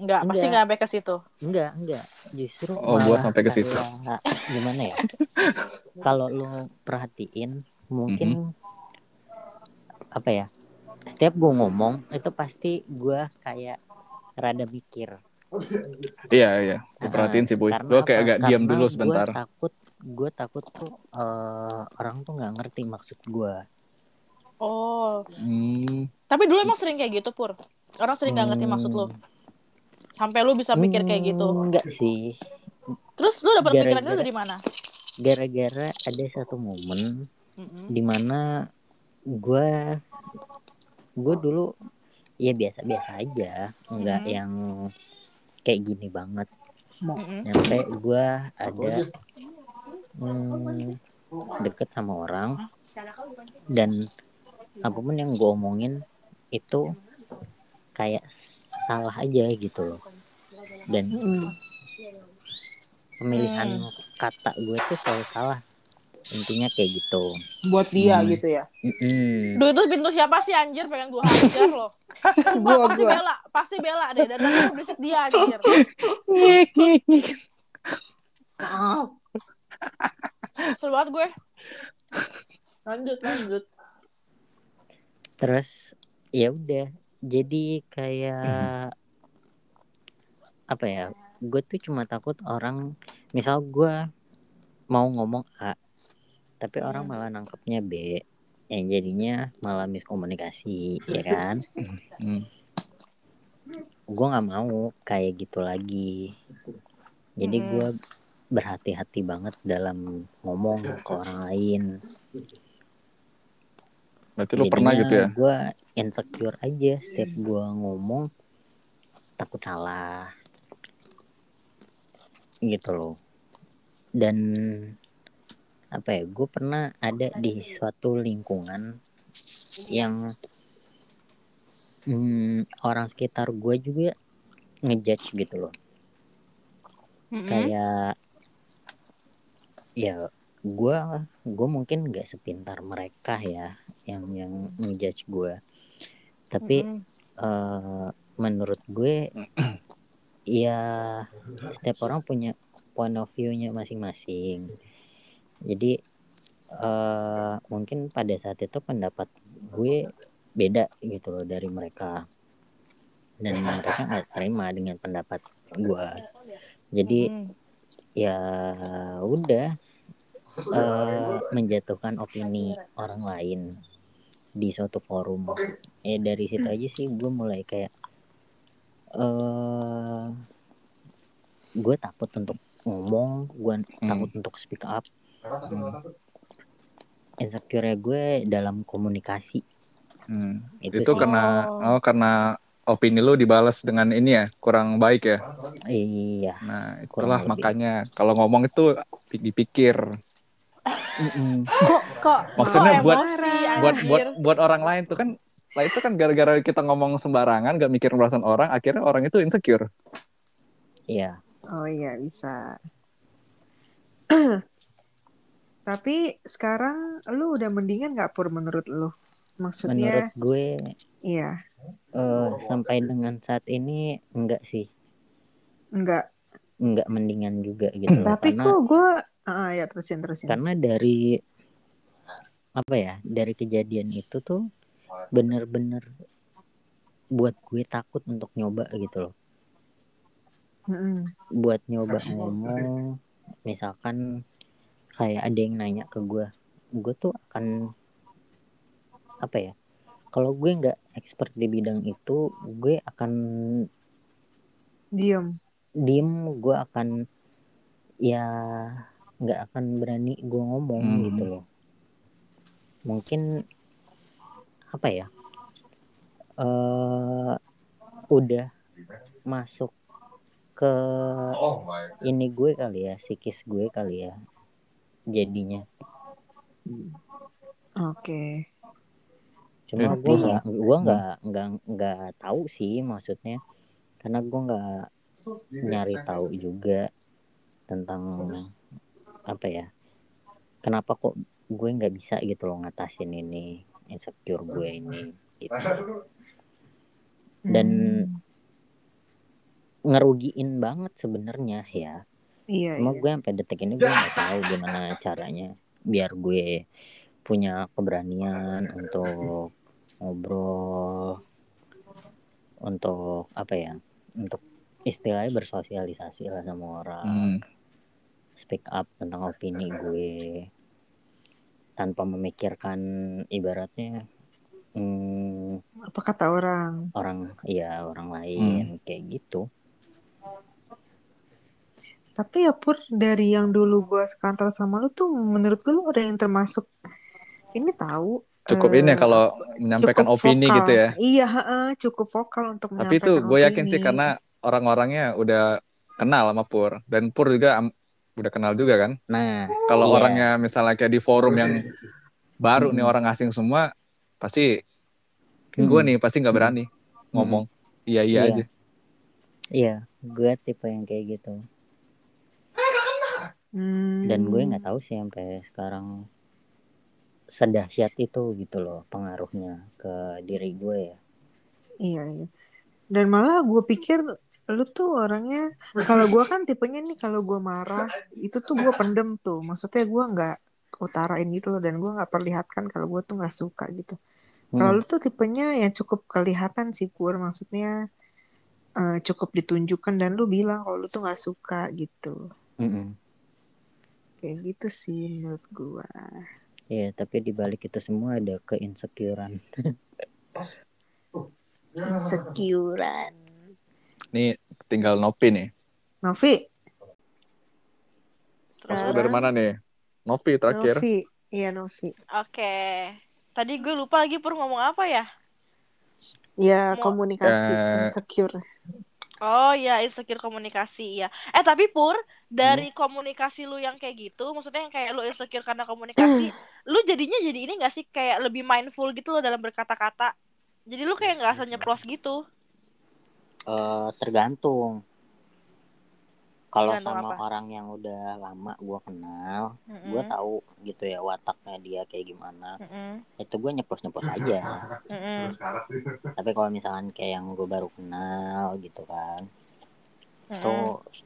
[SPEAKER 2] Enggak, pasti
[SPEAKER 3] Enggak.
[SPEAKER 2] enggak sampai ke situ.
[SPEAKER 3] enggak enggak justru
[SPEAKER 1] Oh, gua
[SPEAKER 3] malah
[SPEAKER 1] sampai ke situ.
[SPEAKER 3] kayak- gimana ya kalau lu perhatiin mungkin
[SPEAKER 1] Mm-hmm.
[SPEAKER 3] apa ya setiap gue ngomong itu pasti gue kayak rada mikir
[SPEAKER 1] Iya iya. Gue
[SPEAKER 3] Ah,
[SPEAKER 1] perhatiin sih puy.
[SPEAKER 3] Karena
[SPEAKER 1] Gue kayak
[SPEAKER 3] apa?
[SPEAKER 1] agak diam
[SPEAKER 3] Karena
[SPEAKER 1] dulu
[SPEAKER 3] gua
[SPEAKER 1] sebentar.
[SPEAKER 3] takut gue takut tuh eh, orang tuh nggak ngerti maksud gue
[SPEAKER 2] Oh.
[SPEAKER 1] Hmm.
[SPEAKER 2] Tapi dulu emang sering kayak gitu, Pur. Orang sering nggak ngerti maksud
[SPEAKER 1] Hmm.
[SPEAKER 2] lo. Sampai lu bisa mikir kayak gitu.
[SPEAKER 3] enggak Hmm, sih
[SPEAKER 2] Terus lu dapet
[SPEAKER 3] Gara-gara-
[SPEAKER 2] pikiran itu dari mana?
[SPEAKER 3] gara-gara ada satu momen
[SPEAKER 2] Mm-mm.
[SPEAKER 3] dimana gue gue dulu ya biasa-biasa aja nggak
[SPEAKER 2] Mhm.
[SPEAKER 3] yang kayak gini banget
[SPEAKER 2] Mm-mm.
[SPEAKER 3] nyampe gue ada hmm, deket sama orang dan apapun yang gue omongin itu kayak salah aja gitu loh dan
[SPEAKER 4] Hmm.
[SPEAKER 3] pemilihan
[SPEAKER 2] Hmm.
[SPEAKER 3] kata gue tuh selalu salah intinya kayak gitu
[SPEAKER 4] buat dia
[SPEAKER 1] Hmm.
[SPEAKER 4] gitu ya
[SPEAKER 3] Mm-mm.
[SPEAKER 2] Duh itu pintu siapa sih anjir pengen gua hajar loh. Sumpah,
[SPEAKER 4] Gua,
[SPEAKER 2] pasti
[SPEAKER 4] gua.
[SPEAKER 2] bela, pasti bela deh. Dan nanti lu berisik dia anjir.
[SPEAKER 4] maaf
[SPEAKER 2] Seru banget gue.
[SPEAKER 4] lanjut lanjut
[SPEAKER 3] terus ya udah jadi kayak apa ya gue tuh cuma takut orang misal gue mau ngomong a tapi orang
[SPEAKER 2] Hmm.
[SPEAKER 3] malah nangkepnya b yang jadinya malah miskomunikasi ya kan
[SPEAKER 1] Hmm.
[SPEAKER 3] gue nggak mau kayak gitu lagi jadi
[SPEAKER 2] Mm-mm.
[SPEAKER 3] gue berhati-hati banget dalam ngomong ke orang lain
[SPEAKER 1] Berarti lu pernah gitu ya?
[SPEAKER 3] gue insecure aja setiap gue ngomong takut salah gitu loh dan apa ya gue pernah ada di suatu lingkungan yang hmm, orang sekitar gue juga ngejudge gitu loh kayak ya gua gue mungkin nggak sepintar mereka ya yang yang ngejudge gua tapi
[SPEAKER 2] Hmm.
[SPEAKER 3] eh, menurut gue ya setiap orang punya point of view-nya masing-masing jadi eh, mungkin pada saat itu pendapat gue beda gitu loh dari mereka dan mereka nggak terima dengan pendapat gue jadi
[SPEAKER 2] Hmm.
[SPEAKER 3] ya udah eh, menjatuhkan opini orang lain di suatu forum eh dari situ aja sih gue mulai kayak eh gue takut untuk ngomong gue
[SPEAKER 1] Hmm.
[SPEAKER 3] takut untuk speak up insecure gue dalam komunikasi
[SPEAKER 1] Hmm.
[SPEAKER 3] itu,
[SPEAKER 1] Itu
[SPEAKER 3] sih.
[SPEAKER 1] karena oh karena opini lu dibalas dengan ini ya, kurang baik ya.
[SPEAKER 3] iya
[SPEAKER 1] Nah, itulah
[SPEAKER 3] Kurang lebih.
[SPEAKER 1] makanya kalau ngomong itu dipikir.
[SPEAKER 3] Mm-mm.
[SPEAKER 2] kok kok
[SPEAKER 1] Maksudnya
[SPEAKER 2] kok
[SPEAKER 1] buat-
[SPEAKER 2] emosi,
[SPEAKER 1] buat
[SPEAKER 2] anjir?
[SPEAKER 1] buat buat orang lain tuh kan lah itu kan gara-gara kita ngomong sembarangan gak mikir perasaan orang akhirnya orang itu insecure
[SPEAKER 3] iya
[SPEAKER 4] Oh iya bisa. Tapi sekarang lu udah mendingan nggak pur menurut lu?
[SPEAKER 3] menurut
[SPEAKER 4] Maksudnya
[SPEAKER 3] gue
[SPEAKER 4] iya
[SPEAKER 3] eh, sampai dengan saat ini enggak sih
[SPEAKER 4] nggak.
[SPEAKER 3] enggak mendingan juga gitu loh.
[SPEAKER 4] Tapi
[SPEAKER 3] karena
[SPEAKER 4] kok gue ah ya terusin terusin.
[SPEAKER 3] karena dari apa ya dari kejadian itu tuh bener-bener buat gue takut untuk nyoba gitu loh
[SPEAKER 4] Mm-mm.
[SPEAKER 3] buat nyoba ngomong misalkan kayak ada yang nanya ke gue gue tuh akan apa ya kalau gue nggak expert di bidang itu gue akan
[SPEAKER 4] Diem.
[SPEAKER 3] diem gue akan ya nggak akan berani gue ngomong
[SPEAKER 1] Hmm.
[SPEAKER 3] gitu loh mungkin apa ya eh udah masuk ke ini gue kali ya psikis gue kali ya jadinya
[SPEAKER 4] Oke.
[SPEAKER 3] cuma
[SPEAKER 1] Eh,
[SPEAKER 3] gue
[SPEAKER 4] tapi-
[SPEAKER 3] nggak gue nggak nggak nggak tahu sih maksudnya karena gue nggak nyari tahu juga tentang apa ya kenapa kok gue nggak bisa gitu loh ngatasin ini insecure gue ini gitu. Dan
[SPEAKER 4] Hmm.
[SPEAKER 3] ngerugiin banget sebenarnya ya
[SPEAKER 4] iya.
[SPEAKER 3] cuma
[SPEAKER 4] iya.
[SPEAKER 3] gue sampai detik ini gue nggak tahu gimana caranya biar gue punya keberanian untuk ngobrol untuk apa ya untuk istilahnya bersosialisasi lah sama orang
[SPEAKER 1] Hmm.
[SPEAKER 3] speak up tentang opini gue tanpa memikirkan ibaratnya hmm,
[SPEAKER 4] Apa kata orang?
[SPEAKER 3] orang ya orang lain
[SPEAKER 1] Hmm.
[SPEAKER 3] kayak gitu
[SPEAKER 4] Tapi ya pur dari yang dulu gue sekantor sama lu tuh menurut gue lu udah yang termasuk ini tahu.
[SPEAKER 1] cukup
[SPEAKER 4] eh,
[SPEAKER 1] ini ya kalau menyampaikan
[SPEAKER 4] cukup
[SPEAKER 1] opini
[SPEAKER 4] vokal.
[SPEAKER 1] gitu ya
[SPEAKER 4] Iya, heeh, cukup vokal untuk
[SPEAKER 1] tapi
[SPEAKER 4] menyampaikan
[SPEAKER 1] itu gue yakin sih
[SPEAKER 4] opini.
[SPEAKER 1] karena orang-orangnya udah kenal sama Pur dan Pur juga am- udah kenal juga kan
[SPEAKER 3] nah
[SPEAKER 1] kalau
[SPEAKER 3] Iya.
[SPEAKER 1] orangnya misalnya kayak di forum yang baru nih
[SPEAKER 3] Mm-mm.
[SPEAKER 1] orang asing semua pasti kayak
[SPEAKER 3] Mm-mm.
[SPEAKER 1] gue nih pasti nggak berani ngomong iya iya
[SPEAKER 3] Iya.
[SPEAKER 1] aja
[SPEAKER 3] iya gue tipe yang kayak gitu
[SPEAKER 4] Hmm.
[SPEAKER 3] dan gue nggak tahu sih sampai sekarang sedahsyat itu gitu loh pengaruhnya ke diri gue ya
[SPEAKER 4] Iya, iya. Dan malah gue pikir lu tuh orangnya kalau gue kan tipenya nih kalau gue marah itu tuh gue pendem tuh. Maksudnya gue nggak utarain gitu loh dan gue nggak perlihatkan kalau gue tuh nggak suka gitu. Kalau lu
[SPEAKER 3] Hmm,
[SPEAKER 4] tuh tipenya yang cukup kelihatan sih pur maksudnya eh, cukup ditunjukkan dan lu bilang kalau lu tuh nggak suka gitu.
[SPEAKER 3] mm-mm.
[SPEAKER 4] Kayak gitu sih menurut gue.
[SPEAKER 3] Iya, tapi di balik itu semua ada keinsecurean.
[SPEAKER 4] Sekiuran.
[SPEAKER 1] nih tinggal Nopi nih
[SPEAKER 4] Novi. Ah. Eh,
[SPEAKER 1] masuk dari mana nih Nopi terakhir
[SPEAKER 4] Novi. Iya Novi.
[SPEAKER 2] Oke. Tadi gue lupa lagi pur ngomong apa ya?
[SPEAKER 4] Ya
[SPEAKER 2] Mau-
[SPEAKER 4] komunikasi
[SPEAKER 1] Eh.
[SPEAKER 4] insecure.
[SPEAKER 2] Oh ya, insecure komunikasi ya. Eh tapi Pur, dari
[SPEAKER 1] Mm-hmm.
[SPEAKER 2] komunikasi lu yang kayak gitu, maksudnya yang kayak lu insecure karena komunikasi,
[SPEAKER 1] Mm.
[SPEAKER 2] lu jadinya jadi ini gak sih kayak lebih mindful gitu loh dalam berkata-kata. Jadi lu
[SPEAKER 1] Mm-hmm.
[SPEAKER 2] kayak nggak asal nyeplos gitu.
[SPEAKER 3] Eh, tergantung. Kalau
[SPEAKER 2] Tergantung apa?
[SPEAKER 3] sama
[SPEAKER 2] Hmm.
[SPEAKER 3] orang yang udah lama gua kenal,
[SPEAKER 2] Mm-mm.
[SPEAKER 3] gua tahu gitu ya wataknya dia kayak gimana.
[SPEAKER 2] Mm-mm.
[SPEAKER 3] Itu gua nyeplos-nyeplos aja.
[SPEAKER 2] Mm-mm.
[SPEAKER 3] Tapi kalau misalkan kayak yang gue baru kenal gitu kan,
[SPEAKER 2] Mm-mm.
[SPEAKER 3] itu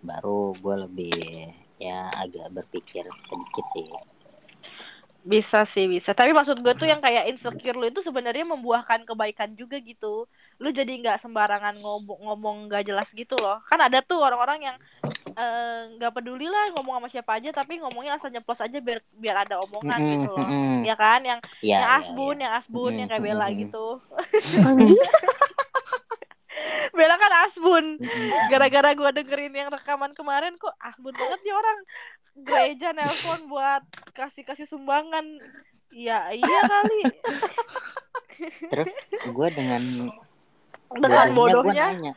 [SPEAKER 3] baru gue lebih ya agak berpikir sedikit sih.
[SPEAKER 2] Bisa sih bisa. Tapi maksud gue
[SPEAKER 3] Hmm.
[SPEAKER 2] tuh yang kayak insecure lu itu sebenarnya membuahkan kebaikan juga gitu. Lu jadi nggak sembarangan ngomong ngomong nggak jelas gitu loh. Kan ada tuh orang-orang yang eh, nggak peduli lah ngomong sama siapa aja, tapi ngomongnya asal nyeplos aja biar biar ada omongan
[SPEAKER 3] Mm-mm,
[SPEAKER 2] gitu loh.
[SPEAKER 3] mm-mm.
[SPEAKER 2] Ya kan, yang
[SPEAKER 3] Ya,
[SPEAKER 2] yang
[SPEAKER 3] ya,
[SPEAKER 2] asbun,
[SPEAKER 3] ya.
[SPEAKER 2] yang asbun, yang kayak
[SPEAKER 3] Mm-mm,
[SPEAKER 2] Bella
[SPEAKER 3] mm-mm.
[SPEAKER 2] gitu.
[SPEAKER 4] Anjir.
[SPEAKER 2] Bella kan asbun.
[SPEAKER 3] Mm-mm.
[SPEAKER 2] Gara-gara gua dengerin yang rekaman kemarin kok asbun banget sih orang. Gereja nelpon buat kasih-kasih sumbangan. Ya iya kali.
[SPEAKER 3] Terus gue dengan
[SPEAKER 2] Dengan
[SPEAKER 3] bodohnya Iya, gua
[SPEAKER 2] bodohnya
[SPEAKER 3] nanya,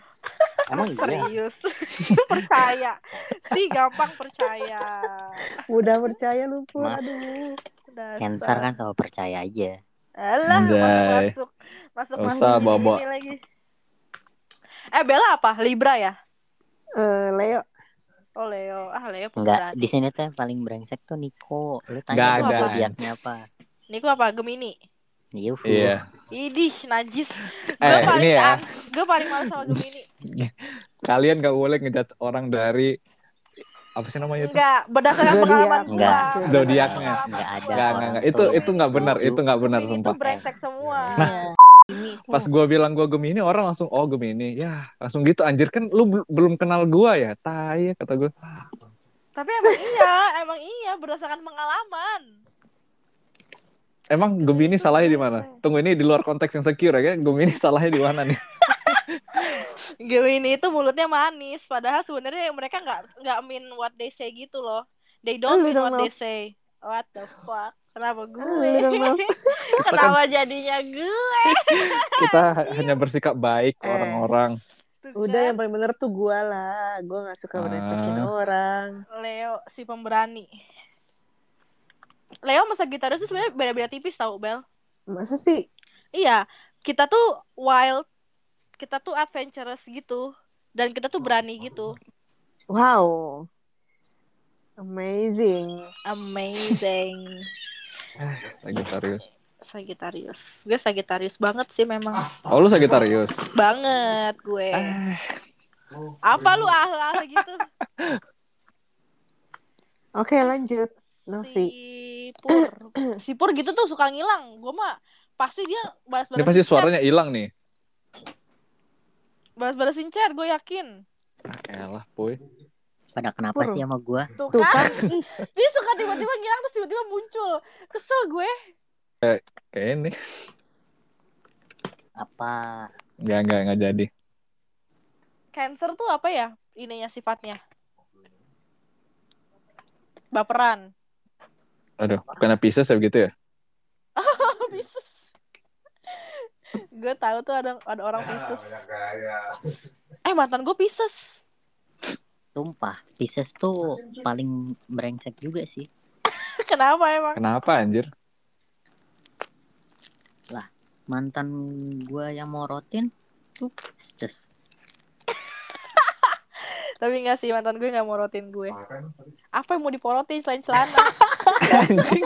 [SPEAKER 3] Emang iya?
[SPEAKER 2] serius. percaya. Si gampang percaya.
[SPEAKER 4] Udah percaya lu pun.
[SPEAKER 3] Maaf.
[SPEAKER 4] Aduh.
[SPEAKER 2] Dasar.
[SPEAKER 3] Cancer kan sama percaya aja.
[SPEAKER 2] Alah,
[SPEAKER 1] Anjay.
[SPEAKER 2] masuk masuk
[SPEAKER 1] Nggak
[SPEAKER 2] masuk
[SPEAKER 1] usah,
[SPEAKER 2] ini
[SPEAKER 1] Bobo.
[SPEAKER 2] lagi. Eh Bella apa? Libra ya?
[SPEAKER 4] Eh, Leo.
[SPEAKER 2] Oh Leo. Ah Leo
[SPEAKER 3] Enggak,
[SPEAKER 2] pemberani.
[SPEAKER 3] di sini tuh yang paling brengsek tuh Niko. Lu
[SPEAKER 1] Nggak
[SPEAKER 3] tanya
[SPEAKER 2] ada.
[SPEAKER 3] tuh zodiaknya apa?
[SPEAKER 2] Niku apa? Gemini.
[SPEAKER 3] Yuhu.
[SPEAKER 1] Iya.
[SPEAKER 2] Idih, najis. Gue
[SPEAKER 1] Eh,
[SPEAKER 2] paling
[SPEAKER 1] ini ya.
[SPEAKER 2] gue paling males sama Gemini.
[SPEAKER 1] Kalian gak boleh ngejat orang dari apa sih namanya Oh, itu?
[SPEAKER 2] Enggak, berdasarkan
[SPEAKER 4] Zodiak.
[SPEAKER 2] pengalaman gue.
[SPEAKER 3] Enggak.
[SPEAKER 1] Zodiaknya.
[SPEAKER 3] Enggak ada.
[SPEAKER 1] Enggak, enggak, enggak. Itu itu enggak benar, itu enggak benar
[SPEAKER 2] Gemini
[SPEAKER 1] sumpah.
[SPEAKER 2] Itu brengsek semua.
[SPEAKER 1] Nah, Pas gua bilang gua Gemini, orang langsung oh Gemini. Ya, langsung gitu anjir kan lu bel- belum kenal gua ya. Tai kata gua.
[SPEAKER 2] Tapi emang iya, emang iya berdasarkan pengalaman.
[SPEAKER 1] Emang Gemini salahnya di mana? Tunggu ini di luar konteks yang secure ya. kan? Gemini salahnya di mana nih?
[SPEAKER 2] Gemini itu mulutnya manis, padahal sebenarnya mereka nggak nggak mean what they say gitu loh. They don't
[SPEAKER 4] Lu
[SPEAKER 2] mean
[SPEAKER 4] dong,
[SPEAKER 2] what
[SPEAKER 4] Nov.
[SPEAKER 2] they say. What the fuck? Kenapa
[SPEAKER 4] Lu dong,
[SPEAKER 2] gue?
[SPEAKER 4] Nov.
[SPEAKER 2] Kenapa jadinya gue?
[SPEAKER 1] Kita hanya bersikap baik ke
[SPEAKER 4] Eh.
[SPEAKER 1] orang-orang.
[SPEAKER 4] Udah yang paling bener tuh gua lah. Gua gak suka merecekin
[SPEAKER 1] Ah.
[SPEAKER 4] orang.
[SPEAKER 2] Leo si pemberani. Leo sama Sagittarius itu sebenarnya beda-beda tipis tau Bel.
[SPEAKER 4] Masa sih?
[SPEAKER 2] Iya, kita tuh wild, kita tuh adventurous gitu, dan kita tuh berani gitu.
[SPEAKER 4] Wow. Amazing.
[SPEAKER 2] Amazing.
[SPEAKER 1] Sagittarius.
[SPEAKER 2] Sagittarius. Gue Sagittarius banget sih memang.
[SPEAKER 1] Oh, lu Sagittarius.
[SPEAKER 2] Banget gue.
[SPEAKER 1] Eh,
[SPEAKER 2] Apa lu ahlah gitu?
[SPEAKER 4] Oke lanjut. Novi.
[SPEAKER 2] Si Pur. Si Pur gitu tuh suka ngilang. Gue mah pasti dia
[SPEAKER 1] ini
[SPEAKER 2] balas-balasin
[SPEAKER 1] pasti
[SPEAKER 2] chat.
[SPEAKER 1] suaranya hilang nih.
[SPEAKER 2] Balas-balasin chat, gue yakin.
[SPEAKER 1] Ah, Elah, puy.
[SPEAKER 3] Pada kenapa
[SPEAKER 4] Pur.
[SPEAKER 3] sih sama gue?
[SPEAKER 2] Tuh,
[SPEAKER 4] Tuh
[SPEAKER 2] kan?
[SPEAKER 4] kan. Ih.
[SPEAKER 2] Dia suka tiba-tiba ngilang terus tiba-tiba muncul. Kesel gue.
[SPEAKER 1] Kayak ini.
[SPEAKER 3] Apa?
[SPEAKER 1] Enggak, enggak, enggak jadi.
[SPEAKER 2] Cancer tuh apa ya? Ininya sifatnya. Baperan.
[SPEAKER 1] Aduh, karena Pisces ya begitu ya?
[SPEAKER 2] Pisces. gue tahu tuh ada ada orang Pisces. Eh mantan gue Pisces.
[SPEAKER 3] Sumpah, Pisces tuh paling brengsek juga sih.
[SPEAKER 2] Kenapa emang?
[SPEAKER 1] Kenapa anjir?
[SPEAKER 3] Mantan gue yang morotin tuh Pisces.
[SPEAKER 2] Tapi enggak sih mantan gue nggak morotin gue. Apa yang mau diporotin selain celana?
[SPEAKER 1] Anjing.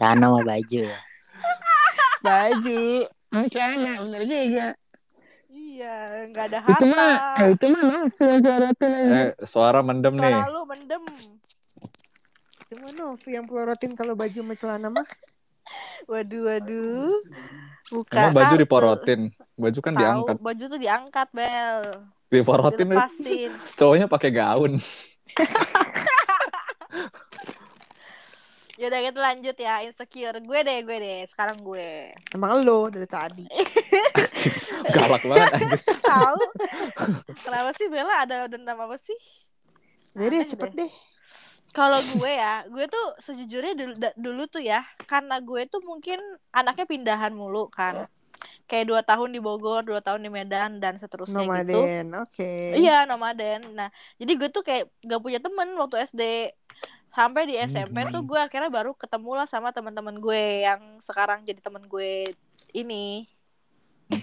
[SPEAKER 3] Karena sama baju ya.
[SPEAKER 4] Baju. Celana. Bener juga.
[SPEAKER 2] iya, nggak ada
[SPEAKER 4] Itu mah.
[SPEAKER 2] harta.
[SPEAKER 4] Itu mah Novi yang pelorotin aja.
[SPEAKER 1] Eh, suara mendem nih.
[SPEAKER 2] Suara lu mendem.
[SPEAKER 4] Itu mah Novi yang pelorotin kalau baju sama celana mah.
[SPEAKER 2] Waduh, waduh. Bukan.
[SPEAKER 1] Emang baju
[SPEAKER 2] Ah,
[SPEAKER 1] diporotin. Baju kan
[SPEAKER 2] Tahu,
[SPEAKER 1] diangkat.
[SPEAKER 2] baju tuh diangkat, Bel.
[SPEAKER 1] Diporotin
[SPEAKER 2] Dilepasin.
[SPEAKER 1] cowoknya pakai gaun.
[SPEAKER 2] Yaudah kita lanjut ya insecure gue deh gue deh sekarang gue
[SPEAKER 4] Emang lo dari tadi.
[SPEAKER 2] Eh,
[SPEAKER 1] Galak banget anjir.
[SPEAKER 2] tahu kenapa sih Bella ada dendam apa sih
[SPEAKER 4] Jadi
[SPEAKER 2] Aneh
[SPEAKER 4] cepet deh.
[SPEAKER 2] kalau gue ya gue tuh sejujurnya dulu, da- dulu tuh ya karena gue tuh mungkin anaknya pindahan mulu kan kayak dua tahun di Bogor dua tahun di Medan dan seterusnya gitu
[SPEAKER 4] Nomaden. Oke.
[SPEAKER 2] Iya nomaden. Nah jadi gue tuh kayak gak punya temen waktu SD sampai di SMP
[SPEAKER 1] Mhm.
[SPEAKER 2] tuh gue akhirnya baru ketemu lah sama teman-teman gue yang sekarang jadi temen gue ini.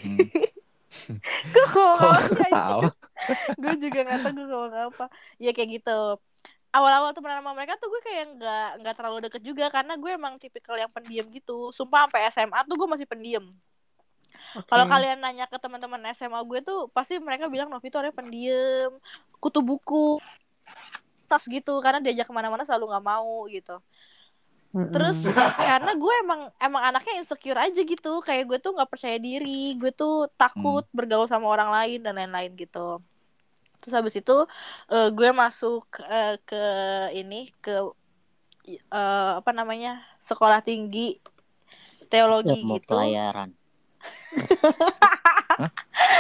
[SPEAKER 2] Kok
[SPEAKER 1] Kok
[SPEAKER 2] ketawa? gitu?
[SPEAKER 1] ketawa?
[SPEAKER 2] gue juga nggak tahu gue ngomong apa ya kayak gitu awal-awal tuh pernah sama mereka tuh gue kayak nggak nggak terlalu deket juga karena gue emang tipikal yang pendiam gitu sumpah sampai SMA tuh gue masih pendiam
[SPEAKER 4] Hmm.
[SPEAKER 2] kalau kalian nanya ke teman-teman SMA gue tuh pasti mereka bilang Novi tuh orangnya pendiam kutu buku tas gitu karena diajak kemana-mana selalu nggak mau gitu terus ya,
[SPEAKER 5] Hmm.
[SPEAKER 2] karena gue emang emang anaknya insecure aja gitu kayak gue tuh nggak percaya diri gue tuh takut
[SPEAKER 5] Hmm.
[SPEAKER 2] bergaul sama orang lain dan lain-lain gitu terus habis itu eh, gue masuk eh, ke ini ke eh, apa namanya sekolah tinggi teologi
[SPEAKER 5] Ya,
[SPEAKER 3] mau
[SPEAKER 2] gitu
[SPEAKER 3] pelayaran.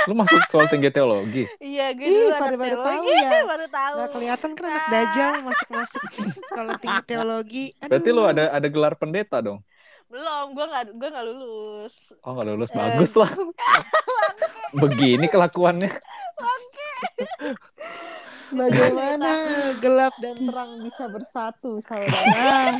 [SPEAKER 1] Lu masuk soal tinggi teologi.
[SPEAKER 2] iya gue
[SPEAKER 5] Ih,
[SPEAKER 2] dulu anak
[SPEAKER 5] pada baru tahu
[SPEAKER 2] teologi
[SPEAKER 5] ya.
[SPEAKER 2] baru tahu Nah.
[SPEAKER 5] Nggak kelihatan kan anak dajal masuk-masuk sekolah tinggi teologi. Aduh.
[SPEAKER 1] Berarti lu ada ada gelar pendeta dong.
[SPEAKER 2] belum gue nggak gue nggak lulus
[SPEAKER 1] Oh nggak lulus
[SPEAKER 2] Eh.
[SPEAKER 1] bagus lah. Begini kelakuannya.
[SPEAKER 4] Bagaimana
[SPEAKER 5] Nah,
[SPEAKER 4] gelap dan terang bisa bersatu, saudara?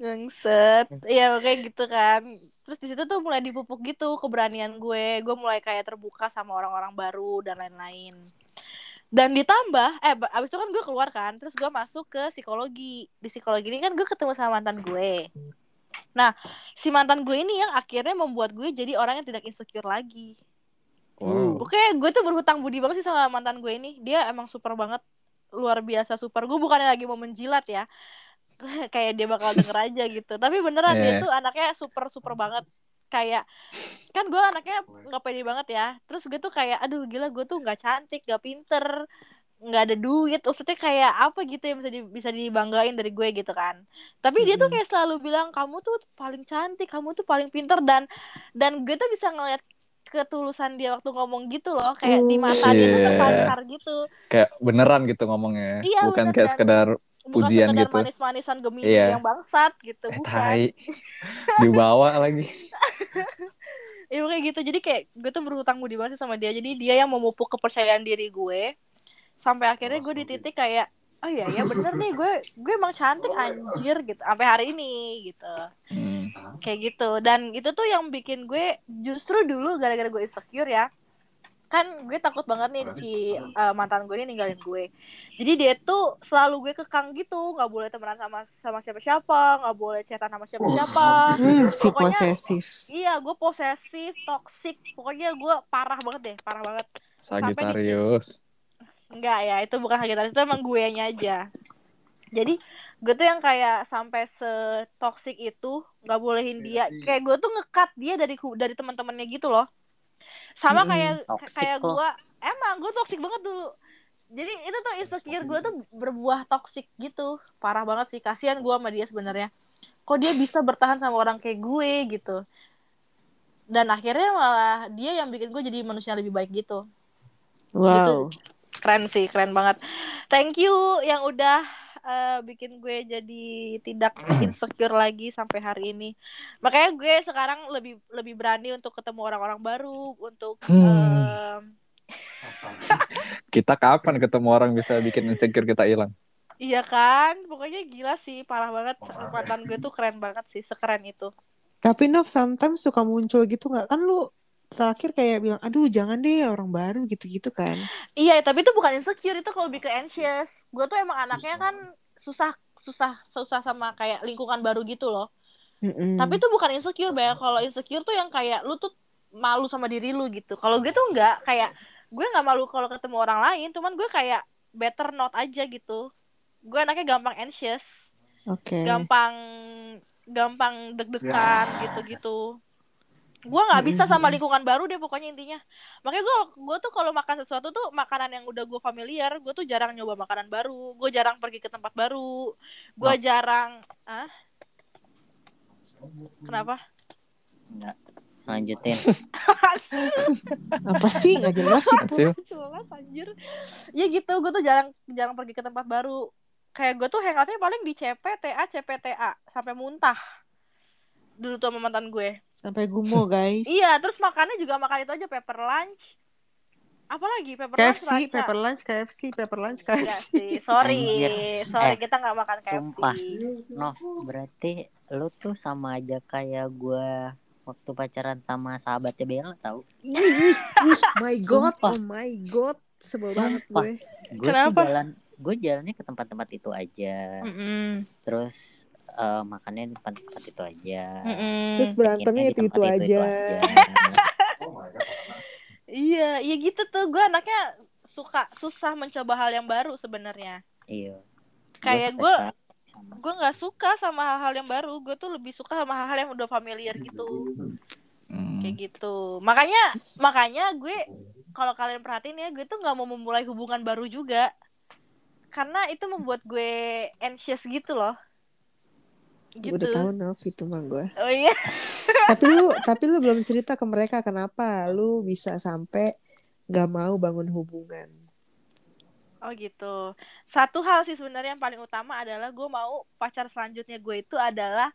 [SPEAKER 2] Ngset. Iya kayak gitu kan. Terus di situ tuh mulai dipupuk gitu keberanian gue. Gue mulai kayak terbuka sama orang-orang baru dan lain-lain. Dan ditambah, eh ba- abis itu kan gue keluar kan, terus gue masuk ke psikologi. Di psikologi ini kan gue ketemu sama mantan gue. Nah, si mantan gue ini yang akhirnya membuat gue jadi orang yang tidak insecure lagi.
[SPEAKER 5] Hmm.
[SPEAKER 1] Wow.
[SPEAKER 2] Oke, gue tuh berhutang budi banget sih sama mantan gue ini. Dia emang super banget, luar biasa super. Gue bukannya lagi mau menjilat ya. kayak dia bakal denger aja gitu. Tapi beneran
[SPEAKER 1] Iya.
[SPEAKER 2] dia tuh anaknya super super banget. Kayak kan gue anaknya nggak pede banget ya. Terus gue tuh kayak aduh gila gue tuh nggak cantik, nggak pinter, nggak ada duit. Maksudnya kayak apa gitu yang bisa di- bisa dibanggain dari gue gitu kan. Tapi dia tuh kayak selalu bilang kamu tuh paling cantik, kamu tuh paling pinter dan dan gue tuh bisa ngeliat ketulusan dia waktu ngomong gitu loh kayak di mata dia tuh
[SPEAKER 1] Iya.
[SPEAKER 2] terpancar gitu
[SPEAKER 1] Kayak beneran gitu ngomongnya.
[SPEAKER 2] Iya,
[SPEAKER 1] Bukan
[SPEAKER 2] bener,
[SPEAKER 1] kayak
[SPEAKER 2] dan-
[SPEAKER 1] sekedar
[SPEAKER 2] bukan
[SPEAKER 1] Pujian
[SPEAKER 2] sekedar
[SPEAKER 1] gitu.
[SPEAKER 2] manis-manisan gemini
[SPEAKER 1] Iya.
[SPEAKER 2] yang bangsat gitu
[SPEAKER 1] eh,
[SPEAKER 2] bukan
[SPEAKER 1] tai. Dibawa lagi.
[SPEAKER 2] Iya kayak gitu. Jadi kayak gue tuh berhutang budi banget sih sama dia. Jadi dia yang memupuk kepercayaan diri gue. Sampai akhirnya gue di titik kayak oh iya ya bener nih gue gue emang cantik anjir gitu. Sampai hari ini gitu.
[SPEAKER 1] Hmm.
[SPEAKER 2] Kayak gitu. Dan itu tuh yang bikin gue justru dulu gara-gara gue insecure ya. Kan gue takut banget nih si eh, mantan gue ini ninggalin gue. Jadi dia tuh selalu gue kekang gitu, nggak boleh temenan sama sama siapa-siapa, nggak boleh chatan sama
[SPEAKER 4] Oh.
[SPEAKER 2] siapa-siapa.
[SPEAKER 5] Hmm, si
[SPEAKER 2] Pokoknya-
[SPEAKER 5] posesif.
[SPEAKER 2] Iya, gue posesif, toxic. Pokoknya gue parah banget deh, parah banget.
[SPEAKER 1] Sagitarius.
[SPEAKER 2] Enggak ya, itu bukan Sagittarius, itu emang gue aja. Jadi gue tuh yang kayak sampai setoxic itu nggak
[SPEAKER 3] Iya
[SPEAKER 2] bolehin dia. Kayak gue tuh ngekat dia dari ku- dari teman-temannya gitu loh. Sama
[SPEAKER 4] Mm-mm,
[SPEAKER 2] kayak
[SPEAKER 3] toxic
[SPEAKER 2] kayak
[SPEAKER 3] loh.
[SPEAKER 2] gue emang gue toxic banget dulu. Jadi itu tuh insecure gue tuh berbuah toxic gitu. Parah banget sih, kasihan gue sama dia sebenarnya. Kok dia bisa bertahan sama orang kayak gue gitu. Dan akhirnya malah dia yang bikin gue jadi manusia yang lebih baik gitu
[SPEAKER 5] Wow.
[SPEAKER 2] keren sih keren banget thank you yang udah eh, bikin gue jadi tidak insecure lagi sampai hari ini makanya gue sekarang lebih lebih berani untuk ketemu orang-orang baru untuk eh,
[SPEAKER 1] Hmm. Kita kapan ketemu orang bisa bikin insecure kita hilang?
[SPEAKER 2] iya kan pokoknya gila sih parah ya. banget mantan gue tuh keren banget sih sekeren itu
[SPEAKER 5] Tapi Nov sometimes suka muncul gitu nggak? Kan lu terakhir kayak bilang, aduh jangan deh orang baru gitu-gitu kan?
[SPEAKER 2] iya tapi itu bukan insecure itu kalau lebih ke anxious gue tuh emang anaknya kan susah susah susah sama kayak lingkungan baru gitu loh
[SPEAKER 5] Mm-mm.
[SPEAKER 4] Hmm.
[SPEAKER 2] Tapi itu bukan insecure, Bel. Kalau insecure tuh yang kayak lu tuh malu sama diri lu gitu. Kalau gue tuh enggak kayak gue nggak malu kalau ketemu orang lain, cuman gue kayak better not aja gitu. Gue anaknya gampang anxious,
[SPEAKER 5] Oke.
[SPEAKER 2] gampang gampang deg-degan gitu-gitu. Gue nggak bisa sama lingkungan baru deh pokoknya intinya. Makanya gue gue tuh kalau makan sesuatu tuh makanan yang udah gue familiar, gue tuh jarang nyoba makanan baru, gue jarang pergi ke tempat baru, gue
[SPEAKER 3] Nov.
[SPEAKER 2] jarang ah kenapa?
[SPEAKER 3] Nggak. Lanjutin.
[SPEAKER 5] Apa sih nggak jelas sih?
[SPEAKER 1] Sih,
[SPEAKER 2] Jelas anjir. Ya gitu, gue tuh jarang jarang pergi ke tempat baru. Kayak gue tuh hangoutnya paling di CPTA, CPTA sampai muntah. Dulu tuh sama mantan gue.
[SPEAKER 5] Sampai gumo guys.
[SPEAKER 2] Iya, terus makannya juga makan itu aja paper lunch. Apalagi paper lunch.
[SPEAKER 5] KFC,
[SPEAKER 2] rasa.
[SPEAKER 5] paper lunch, KFC, paper lunch,
[SPEAKER 2] Enggak
[SPEAKER 5] KFC.
[SPEAKER 2] sih, sorry.
[SPEAKER 3] Anjir.
[SPEAKER 2] Sorry
[SPEAKER 3] Eh,
[SPEAKER 2] kita nggak makan KFC.
[SPEAKER 3] Nah, sumpah. Nov, berarti lu tuh sama aja kayak gua waktu pacaran sama sahabatnya Bella tahu.
[SPEAKER 5] Ih, ih, ih, my god,
[SPEAKER 3] Sumpah.
[SPEAKER 5] oh my god, sebel banget
[SPEAKER 3] Sumpah.
[SPEAKER 5] gue.
[SPEAKER 3] Gue tuh
[SPEAKER 2] Kenapa? Hmm.
[SPEAKER 3] jalan gue jalannya ke tempat-tempat itu aja. Terus eh, makannya di tempat-tempat itu aja.
[SPEAKER 5] Terus berantemnya
[SPEAKER 3] Nginepnya di
[SPEAKER 5] itu-itu
[SPEAKER 3] tempat
[SPEAKER 5] aja.
[SPEAKER 3] aja.
[SPEAKER 2] Iya, iya gitu tuh. Gue anaknya suka susah mencoba hal yang baru sebenarnya.
[SPEAKER 3] iya.
[SPEAKER 2] Kayak
[SPEAKER 3] sampai
[SPEAKER 2] gue-
[SPEAKER 3] sekarang sama.
[SPEAKER 2] Gue nggak suka sama hal-hal yang baru. Gue tuh lebih suka sama hal-hal yang udah familiar gitu.
[SPEAKER 1] Hmm.
[SPEAKER 2] kayak
[SPEAKER 5] Hmm.
[SPEAKER 2] gitu makanya makanya gue kalau kalian perhatiin ya gue tuh nggak mau memulai hubungan baru juga karena itu membuat gue anxious gitu loh gitu
[SPEAKER 5] Udah tahu Nov itu mah gue.
[SPEAKER 2] oh iya
[SPEAKER 5] Tapi lu tapi lu belum cerita ke mereka kenapa lu bisa sampai gak mau bangun hubungan.
[SPEAKER 2] oh gitu satu hal sih sebenarnya yang paling utama adalah gue mau pacar selanjutnya gue itu adalah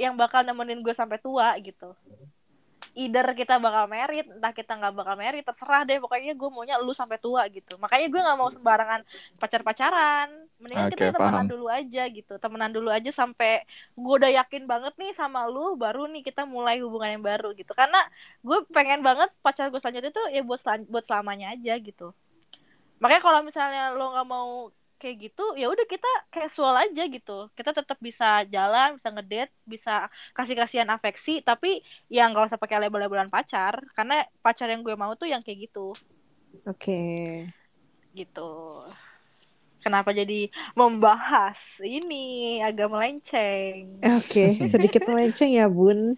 [SPEAKER 2] yang bakal nemenin gue sampai tua gitu either kita bakal merit entah kita nggak bakal merit terserah deh pokoknya gue maunya lu sampai tua gitu makanya gue nggak mau sembarangan pacar pacaran mendingan
[SPEAKER 1] Hmm. Oke,
[SPEAKER 2] kita temenan
[SPEAKER 1] paham.
[SPEAKER 2] dulu aja gitu temenan dulu aja sampai gue udah yakin banget nih sama lu baru nih kita mulai hubungan yang baru gitu karena gue pengen banget pacar gue selanjutnya tuh ya buat selan- buat selamanya aja gitu makanya kalau misalnya lo nggak mau kayak gitu ya udah kita casual aja gitu kita tetap bisa jalan bisa ngedate bisa kasih kasihan afeksi tapi yang gak usah pakai label-labelan pacar karena pacar yang gue mau tuh yang kayak gitu
[SPEAKER 5] Oke.
[SPEAKER 2] gitu kenapa jadi membahas ini agak melenceng
[SPEAKER 5] Oke, sedikit melenceng ya, Bun.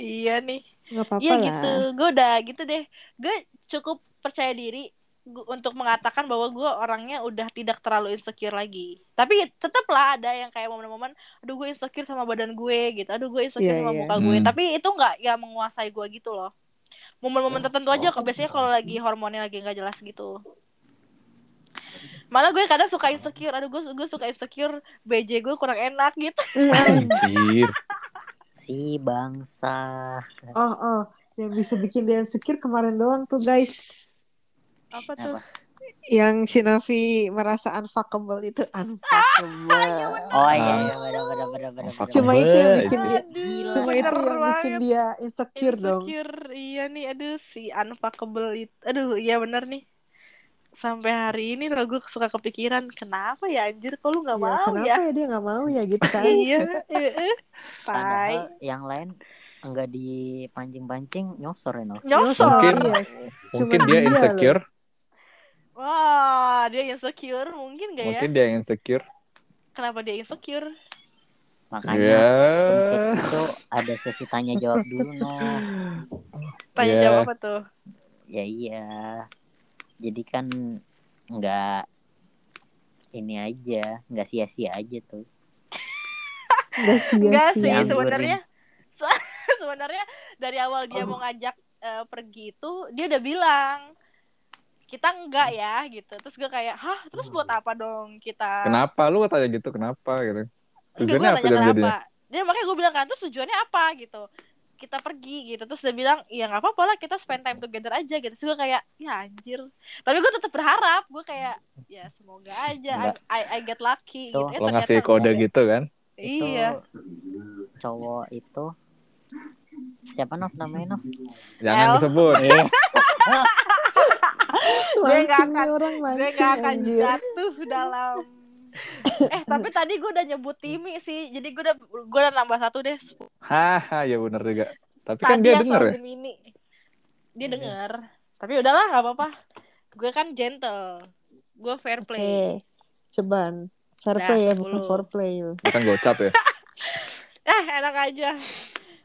[SPEAKER 2] iya nih
[SPEAKER 5] Gak apa-apa
[SPEAKER 2] iya
[SPEAKER 5] lah.
[SPEAKER 2] gitu gue udah gitu deh gue cukup percaya diri gu- untuk mengatakan bahwa gue orangnya udah tidak terlalu insecure lagi tapi tetap lah ada yang kayak momen-momen aduh gue insecure sama badan gue gitu aduh gue insecure
[SPEAKER 5] Iya,
[SPEAKER 2] sama
[SPEAKER 5] iya.
[SPEAKER 2] muka gue
[SPEAKER 1] Hmm.
[SPEAKER 2] tapi itu nggak ya menguasai gue gitu loh momen-momen tertentu aja kok biasanya kalau lagi hormonnya lagi nggak jelas gitu malah gue kadang suka insecure aduh gue gue suka insecure BJ gue kurang enak gitu
[SPEAKER 5] Mm, ah,
[SPEAKER 1] Anjir.
[SPEAKER 3] Si bangsa.
[SPEAKER 5] Oh, oh, yang bisa bikin dia insecure kemarin doang tuh, guys.
[SPEAKER 2] apa tuh
[SPEAKER 3] Apa?
[SPEAKER 5] Yang si Nafi merasa unfuckable itu unfuckable.
[SPEAKER 3] Oh iya, iya, bener, bener, bener, bener, bener.
[SPEAKER 5] Ah. Cuma itu yang bikin dia
[SPEAKER 2] aduh
[SPEAKER 5] Iya. Cuma itu
[SPEAKER 2] bener
[SPEAKER 5] yang bikin
[SPEAKER 2] banget.
[SPEAKER 5] dia insecure dong.
[SPEAKER 2] Insecure, iya nih aduh si unfuckable itu aduh iya bener nih sampai hari ini lo gue suka kepikiran kenapa ya anjir kok lu
[SPEAKER 5] Iya,
[SPEAKER 2] nggak mau
[SPEAKER 5] kenapa
[SPEAKER 2] ya
[SPEAKER 5] ya dia nggak mau ya gitu kan?
[SPEAKER 2] iya eh, eh. tai
[SPEAKER 3] Padahal yang lain enggak dipancing-pancing nyosor ya, Nov.
[SPEAKER 2] nyosor
[SPEAKER 1] Mungkin
[SPEAKER 5] Iya.
[SPEAKER 1] mungkin
[SPEAKER 5] Cuma
[SPEAKER 1] dia
[SPEAKER 5] dia
[SPEAKER 1] insecure,
[SPEAKER 2] wah dia insecure mungkin gak ya
[SPEAKER 1] mungkin dia yang insecure.
[SPEAKER 2] kenapa dia insecure
[SPEAKER 1] Iya.
[SPEAKER 3] Makanya mungkin
[SPEAKER 2] Eh.
[SPEAKER 1] Ya.
[SPEAKER 3] itu ada sesi tanya jawab dulu, Nov.
[SPEAKER 2] tanya
[SPEAKER 1] Iya.
[SPEAKER 2] jawab apa tuh
[SPEAKER 3] Ya iya. Jadi kan nggak ini aja, nggak sia-sia aja tuh.
[SPEAKER 5] Enggak
[SPEAKER 2] Enggak
[SPEAKER 5] sia-sia.
[SPEAKER 2] sih
[SPEAKER 3] Dianggurin.
[SPEAKER 2] sebenarnya se- sebenarnya dari awal dia mau ngajak eh, pergi itu dia udah bilang kita enggak ya gitu terus gue kayak hah terus buat apa dong kita
[SPEAKER 1] Hmm. Kenapa lu tanya gitu? Kenapa gitu?
[SPEAKER 2] Enggak,
[SPEAKER 1] Tujuannya
[SPEAKER 2] gua
[SPEAKER 1] apa
[SPEAKER 2] nanya
[SPEAKER 1] jadi jadinya?
[SPEAKER 2] kenapa. Ya, Dia makanya gue bilang kan, terus tujuannya apa gitu. Kita pergi gitu. Terus dia bilang, ya nggak apa-apa lah kita spend time together aja gitu. Terus gue kayak, ya anjir. Tapi gue tetap berharap. Gue kayak, ya semoga aja. I,
[SPEAKER 3] Enggak.
[SPEAKER 2] I- I get lucky
[SPEAKER 3] Tuh,
[SPEAKER 2] gitu. Eh,
[SPEAKER 1] Lo ngasih
[SPEAKER 2] ternyata
[SPEAKER 1] kode
[SPEAKER 2] enggak.
[SPEAKER 1] gitu kan?
[SPEAKER 3] Itu
[SPEAKER 2] Iya.
[SPEAKER 3] cowok itu siapa Nov namanya Nov?
[SPEAKER 1] Jangan
[SPEAKER 2] El.
[SPEAKER 1] disebut.
[SPEAKER 5] Iya.
[SPEAKER 3] Eh,
[SPEAKER 2] Gue
[SPEAKER 5] Mancing
[SPEAKER 2] nggak
[SPEAKER 5] nih
[SPEAKER 2] akan-
[SPEAKER 5] orang
[SPEAKER 2] Gue
[SPEAKER 5] mancing
[SPEAKER 2] gak akan
[SPEAKER 5] anjir.
[SPEAKER 2] jatuh dalam... eh tapi tadi gue udah nyebut Timi sih jadi gue udah gue udah nambah satu deh
[SPEAKER 1] Haha, ya bener juga. Tapi
[SPEAKER 2] tadi
[SPEAKER 1] kan dia
[SPEAKER 2] yang
[SPEAKER 1] denger
[SPEAKER 2] soal
[SPEAKER 1] ya. Iya.
[SPEAKER 2] Gemini. dia denger tapi udahlah nggak apa-apa gue kan gentle gue fair
[SPEAKER 5] Oke.
[SPEAKER 2] play
[SPEAKER 5] Cobaan. Fair
[SPEAKER 2] Dah,
[SPEAKER 5] play ya, bukan
[SPEAKER 2] sepuluh.
[SPEAKER 5] foreplay.
[SPEAKER 1] Bukan gocap ya.
[SPEAKER 2] eh enak aja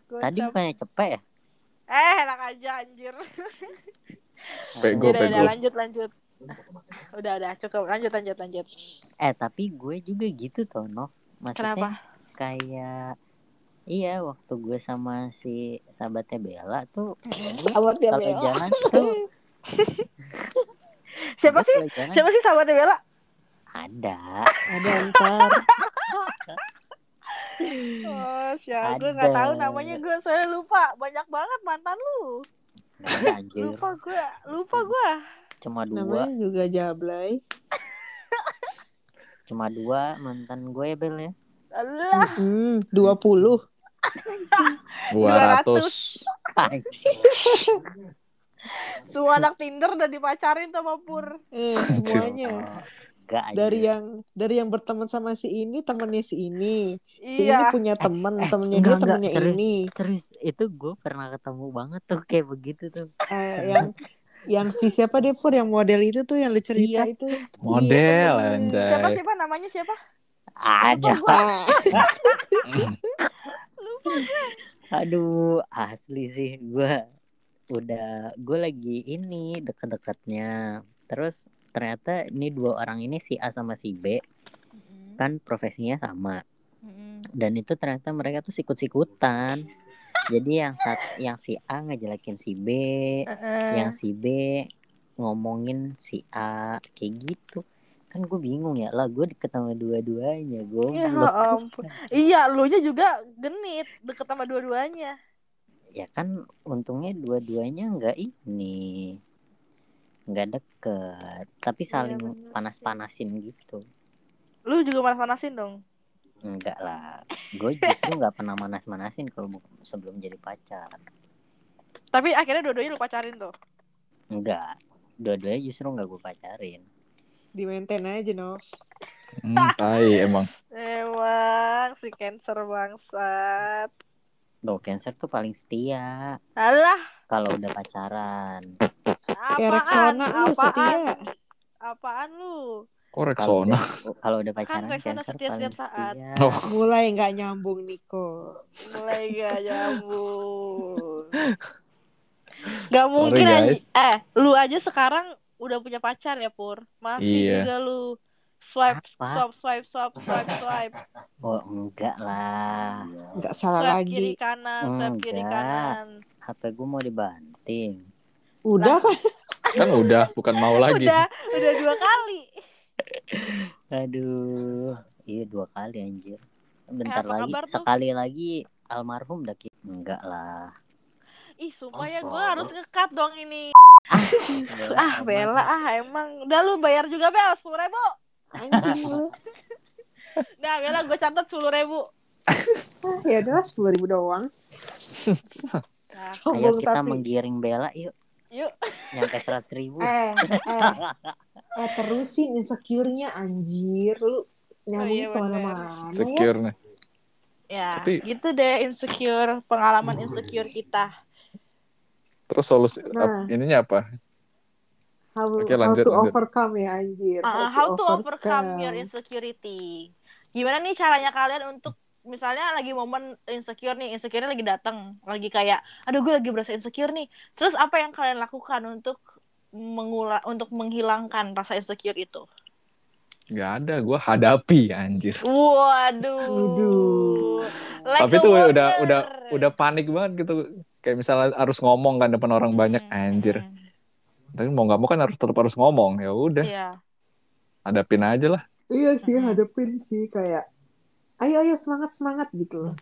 [SPEAKER 2] Gua
[SPEAKER 3] tadi
[SPEAKER 2] ucap,
[SPEAKER 3] bukannya cepet ya?
[SPEAKER 2] eh enak aja anjir
[SPEAKER 1] Pego, Go,
[SPEAKER 2] udah,
[SPEAKER 1] pego.
[SPEAKER 2] udah, udah, lanjut lanjut udah udah cukup lanjut lanjut lanjut
[SPEAKER 3] Eh tapi gue juga gitu tuh Nov. Maksudnya
[SPEAKER 2] Kenapa?
[SPEAKER 3] kayak iya waktu gue sama si sahabatnya Bella tuh
[SPEAKER 5] Awat dia
[SPEAKER 3] kalau
[SPEAKER 5] Bella.
[SPEAKER 3] jalan tuh
[SPEAKER 2] siapa
[SPEAKER 3] gue
[SPEAKER 2] sih
[SPEAKER 3] kalau jalan
[SPEAKER 2] siapa sih sahabatnya Bella
[SPEAKER 3] ada
[SPEAKER 5] Ada ntar.
[SPEAKER 2] oh siapa gue
[SPEAKER 3] Ada.
[SPEAKER 2] nggak tahu namanya gue soalnya lupa banyak banget mantan lu
[SPEAKER 3] Ada,
[SPEAKER 5] Iya.
[SPEAKER 3] anjir
[SPEAKER 2] lupa gue lupa gue
[SPEAKER 3] cuma dua
[SPEAKER 5] Namanya juga Jablay.
[SPEAKER 3] cuma dua mantan gue Bel ya
[SPEAKER 2] Alah,
[SPEAKER 5] Hmm, 20.
[SPEAKER 1] 200.
[SPEAKER 2] Semua anak Tinder udah dipacarin sama Pur.
[SPEAKER 5] Eh, semuanya.
[SPEAKER 3] Enggak anjir.
[SPEAKER 5] Dari yang dari yang berteman sama si ini, temennya si ini. Si ini
[SPEAKER 2] Iya.
[SPEAKER 5] punya temen,
[SPEAKER 3] eh,
[SPEAKER 5] temennya
[SPEAKER 3] enggak,
[SPEAKER 5] dia,
[SPEAKER 3] enggak,
[SPEAKER 5] temennya
[SPEAKER 3] serius.
[SPEAKER 5] ini.
[SPEAKER 3] serius itu gue pernah ketemu banget tuh kayak begitu tuh
[SPEAKER 5] Eh, yang yang si siapa deh pur yang model itu tuh yang lu cerita
[SPEAKER 3] Iya.
[SPEAKER 5] itu.
[SPEAKER 1] Model,
[SPEAKER 5] Iya,
[SPEAKER 1] anjay.
[SPEAKER 2] Siapa sih Pak namanya siapa?
[SPEAKER 3] ada
[SPEAKER 5] Ah,
[SPEAKER 3] Aduh, asli sih gua udah gue lagi ini deket-deketnya. Terus ternyata ini dua orang ini si A sama si B kan profesinya sama dan itu ternyata mereka tuh sikut-sikutan. Jadi yang sat, yang si A ngejelekin si B,
[SPEAKER 5] Iya.
[SPEAKER 2] Eh.
[SPEAKER 3] yang si B ngomongin si A kayak gitu. Kan gue bingung ya lah gue deket sama dua-duanya gue.
[SPEAKER 2] Ya ampun. Iya, lu nya juga genit deket sama dua-duanya.
[SPEAKER 3] ya kan untungnya dua-duanya nggak ini nggak deket tapi
[SPEAKER 2] Ya,
[SPEAKER 3] saling
[SPEAKER 2] bener
[SPEAKER 3] panas-panasin gitu
[SPEAKER 2] Lu juga manas-manasin dong.
[SPEAKER 3] enggak lah gue justru nggak pernah manas-manasin kalau bu- sebelum jadi pacar
[SPEAKER 2] Tapi akhirnya dua-duanya lu pacarin tuh.
[SPEAKER 3] enggak dua-duanya justru nggak gue pacarin
[SPEAKER 5] di maintain aja no.
[SPEAKER 1] Hmm, tai emang.
[SPEAKER 2] Emang si cancer bangsat.
[SPEAKER 3] Loh, cancer tuh paling setia
[SPEAKER 2] Alah,
[SPEAKER 3] kalau udah pacaran
[SPEAKER 5] Kayak
[SPEAKER 2] apaan?
[SPEAKER 5] Ya, Rexona lu iya.
[SPEAKER 2] Apaan?
[SPEAKER 5] setia.
[SPEAKER 2] Apaan lu?
[SPEAKER 1] Kok
[SPEAKER 3] kalau
[SPEAKER 1] Rexona?
[SPEAKER 3] udah, kalau udah pacaran
[SPEAKER 2] Rexona Kan
[SPEAKER 3] cancer
[SPEAKER 2] setia
[SPEAKER 3] paling
[SPEAKER 2] setiap saat.
[SPEAKER 3] setia
[SPEAKER 1] Oh.
[SPEAKER 5] Mulai nggak nyambung Niko.
[SPEAKER 2] Mulai gak nyambung. Gak mungkin
[SPEAKER 1] Sorry,
[SPEAKER 2] anj-
[SPEAKER 1] guys.
[SPEAKER 2] Eh, lu aja sekarang udah punya pacar ya, Pur? Masih
[SPEAKER 1] Iya.
[SPEAKER 2] juga lu swipe,
[SPEAKER 3] apa
[SPEAKER 2] swap, swipe, swap, swipe, swipe.
[SPEAKER 3] oh enggak lah
[SPEAKER 5] Nggak salah
[SPEAKER 2] Swipe kiri
[SPEAKER 5] lagi.
[SPEAKER 2] kanan, swipe kiri
[SPEAKER 3] Enggak.
[SPEAKER 2] kanan.
[SPEAKER 3] HP gue mau dibanting
[SPEAKER 5] Udah kan?
[SPEAKER 1] Kan udah, bukan mau lagi.
[SPEAKER 2] Udah, udah dua kali.
[SPEAKER 3] Aduh, iya dua kali anjir. Bentar
[SPEAKER 2] Eh, apa
[SPEAKER 3] lagi,
[SPEAKER 2] kabar tuh?
[SPEAKER 3] sekali lagi almarhum dah ki- Enggak lah.
[SPEAKER 2] Ih, sumpah ya gue
[SPEAKER 3] Masa?
[SPEAKER 2] harus ngekat dong ini.
[SPEAKER 3] Bella,
[SPEAKER 2] Ah,
[SPEAKER 3] almarhum.
[SPEAKER 2] Bella, ah emang. Udah lu bayar juga, Bel, 10 ribu.
[SPEAKER 5] Anjing lu.
[SPEAKER 2] Nah, Bella gue catat 10 ribu.
[SPEAKER 5] Ya udah sepuluh ribu doang.
[SPEAKER 2] Nah,
[SPEAKER 3] Ayo
[SPEAKER 5] Sombong
[SPEAKER 3] kita
[SPEAKER 5] tapi.
[SPEAKER 3] menggiring Bella yuk.
[SPEAKER 2] Yuk.
[SPEAKER 3] Nyampe seratus ribu.
[SPEAKER 5] Eh, eh, eh terusin insecure-nya anjir lu nyambung
[SPEAKER 2] iya,
[SPEAKER 5] kemana-mana ya.
[SPEAKER 1] Secure nih.
[SPEAKER 2] ya
[SPEAKER 1] Tapi- iya.
[SPEAKER 2] gitu deh insecure, pengalaman insecure kita.
[SPEAKER 1] Terus solusi
[SPEAKER 5] Nah.
[SPEAKER 1] ap- ininya apa?
[SPEAKER 5] How,
[SPEAKER 1] Oke,
[SPEAKER 5] how
[SPEAKER 1] lanjut,
[SPEAKER 5] to
[SPEAKER 1] lanjut.
[SPEAKER 5] overcome ya anjir.
[SPEAKER 2] Uh, how to overcome your insecurity. Gimana nih caranya kalian untuk misalnya lagi momen insecure nih, insecure lagi datang, lagi kayak aduh gue lagi berasa insecure nih. Terus apa yang kalian lakukan untuk mengula untuk menghilangkan rasa insecure itu?
[SPEAKER 1] Gak ada, gue hadapi anjir.
[SPEAKER 2] Waduh.
[SPEAKER 5] Waduh.
[SPEAKER 2] Like
[SPEAKER 1] Tapi
[SPEAKER 2] a
[SPEAKER 1] tuh
[SPEAKER 2] warrior.
[SPEAKER 1] udah udah udah panik banget gitu. Kayak misalnya harus ngomong kan depan orang banyak
[SPEAKER 2] Hmm,
[SPEAKER 1] anjir.
[SPEAKER 2] hmm,
[SPEAKER 1] Tapi mau nggak mau kan harus tetap harus ngomong. Ya udah,
[SPEAKER 2] Iya.
[SPEAKER 1] hadapin aja lah.
[SPEAKER 5] Iya sih hadapin sih kayak ayo ayo semangat semangat gitu.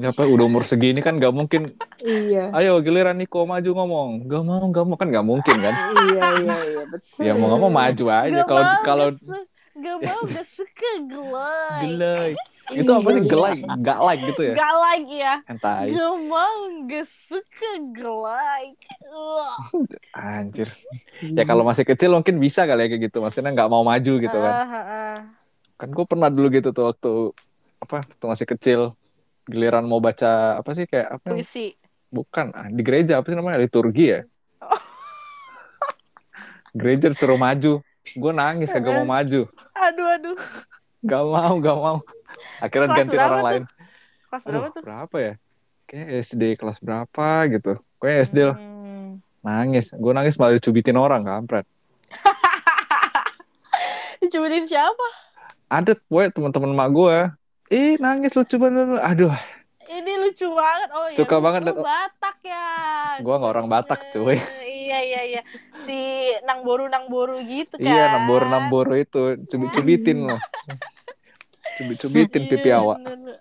[SPEAKER 1] Gak apa, udah umur segini kan gak mungkin.
[SPEAKER 5] iya.
[SPEAKER 1] Ayo giliran Niko maju ngomong. Gak mau, gak mau kan gak mungkin kan.
[SPEAKER 5] iya iya iya betul.
[SPEAKER 1] Ya mau nggak mau maju aja.
[SPEAKER 2] Gak
[SPEAKER 1] Kalau
[SPEAKER 2] mau,
[SPEAKER 1] kalau
[SPEAKER 2] gak su- gak mau gak suka gelai.
[SPEAKER 1] gelai, itu
[SPEAKER 2] Iya.
[SPEAKER 1] gitu,
[SPEAKER 4] Iya.
[SPEAKER 1] apa sih gelai? Gak like gitu ya?
[SPEAKER 2] Gak like ya.
[SPEAKER 1] Entai,
[SPEAKER 2] Gak mau gak suka gelai.
[SPEAKER 1] anjir. Ya kalau masih kecil mungkin bisa kali ya kayak gitu. Maksudnya nggak mau maju gitu kan.
[SPEAKER 2] Ah.
[SPEAKER 1] Kan gue pernah dulu gitu tuh waktu apa? Waktu masih kecil giliran mau baca apa sih kayak apa?
[SPEAKER 2] Puisi.
[SPEAKER 1] Bukan ah, di gereja apa sih namanya liturgi ya? Gereja suruh maju. Gue nangis kagak mau maju.
[SPEAKER 2] Aduh aduh.
[SPEAKER 1] Gak mau, gak mau. Akhirnya
[SPEAKER 2] Kelas
[SPEAKER 1] ganti
[SPEAKER 2] berapa
[SPEAKER 1] orang
[SPEAKER 2] tuh?
[SPEAKER 1] lain.
[SPEAKER 2] Kelas
[SPEAKER 1] Aduh,
[SPEAKER 2] berapa tuh?
[SPEAKER 1] berapa ya? Kayak SD kelas berapa gitu. Kayak SD lah.
[SPEAKER 2] Hmm.
[SPEAKER 1] Nangis. Gue nangis malah dicubitin orang, kampret.
[SPEAKER 2] Dicubitin siapa?
[SPEAKER 1] Ada gue teman-teman mak gue. Ih, nangis lu coba lu. Aduh,
[SPEAKER 2] Ini lucu banget. Oh iya.
[SPEAKER 1] Suka
[SPEAKER 2] lu-
[SPEAKER 1] banget liat-
[SPEAKER 2] Lu Batak ya.
[SPEAKER 1] Gua nggak orang Batak, cuy.
[SPEAKER 2] Eh, Iya iya iya. Si nang boru nang boru gitu kan.
[SPEAKER 1] iya nambur-nambur itu. Cubit-cubitin lo. Cubit-cubitin pipi
[SPEAKER 2] Iya,
[SPEAKER 1] awak.
[SPEAKER 2] bener.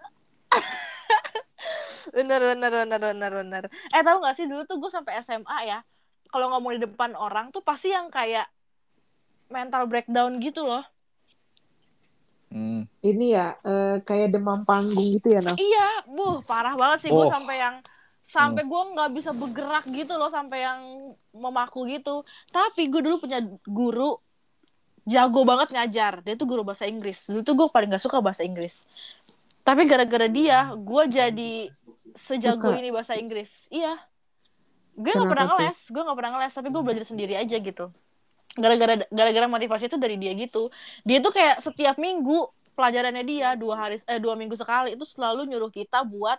[SPEAKER 2] bener bener bener bener bener eh tau gak sih dulu tuh gue sampai SMA ya kalau ngomong di depan orang tuh pasti yang kayak mental breakdown gitu loh
[SPEAKER 1] Hmm.
[SPEAKER 4] ini ya eh, kayak demam panggung gitu ya Naf.
[SPEAKER 2] Iya, buh parah banget sih gue
[SPEAKER 1] Oh.
[SPEAKER 2] sampai yang sampai gue nggak bisa bergerak gitu loh sampai yang memaku gitu. Tapi gue dulu punya guru jago banget ngajar. Dia tuh guru bahasa Inggris. Dulu tuh gue paling gak suka bahasa Inggris. Tapi gara-gara dia, gue jadi sejago
[SPEAKER 4] Suka.
[SPEAKER 2] ini bahasa Inggris. Iya. Gue nggak
[SPEAKER 4] Kenapa
[SPEAKER 2] pernah
[SPEAKER 4] tuh? Hmm.
[SPEAKER 2] ngeles, gue nggak pernah ngeles, tapi gue belajar sendiri aja gitu. Gara-gara gara-gara motivasi itu dari dia gitu. Dia tuh kayak setiap minggu pelajarannya dia dua hari eh dua minggu sekali itu selalu nyuruh kita buat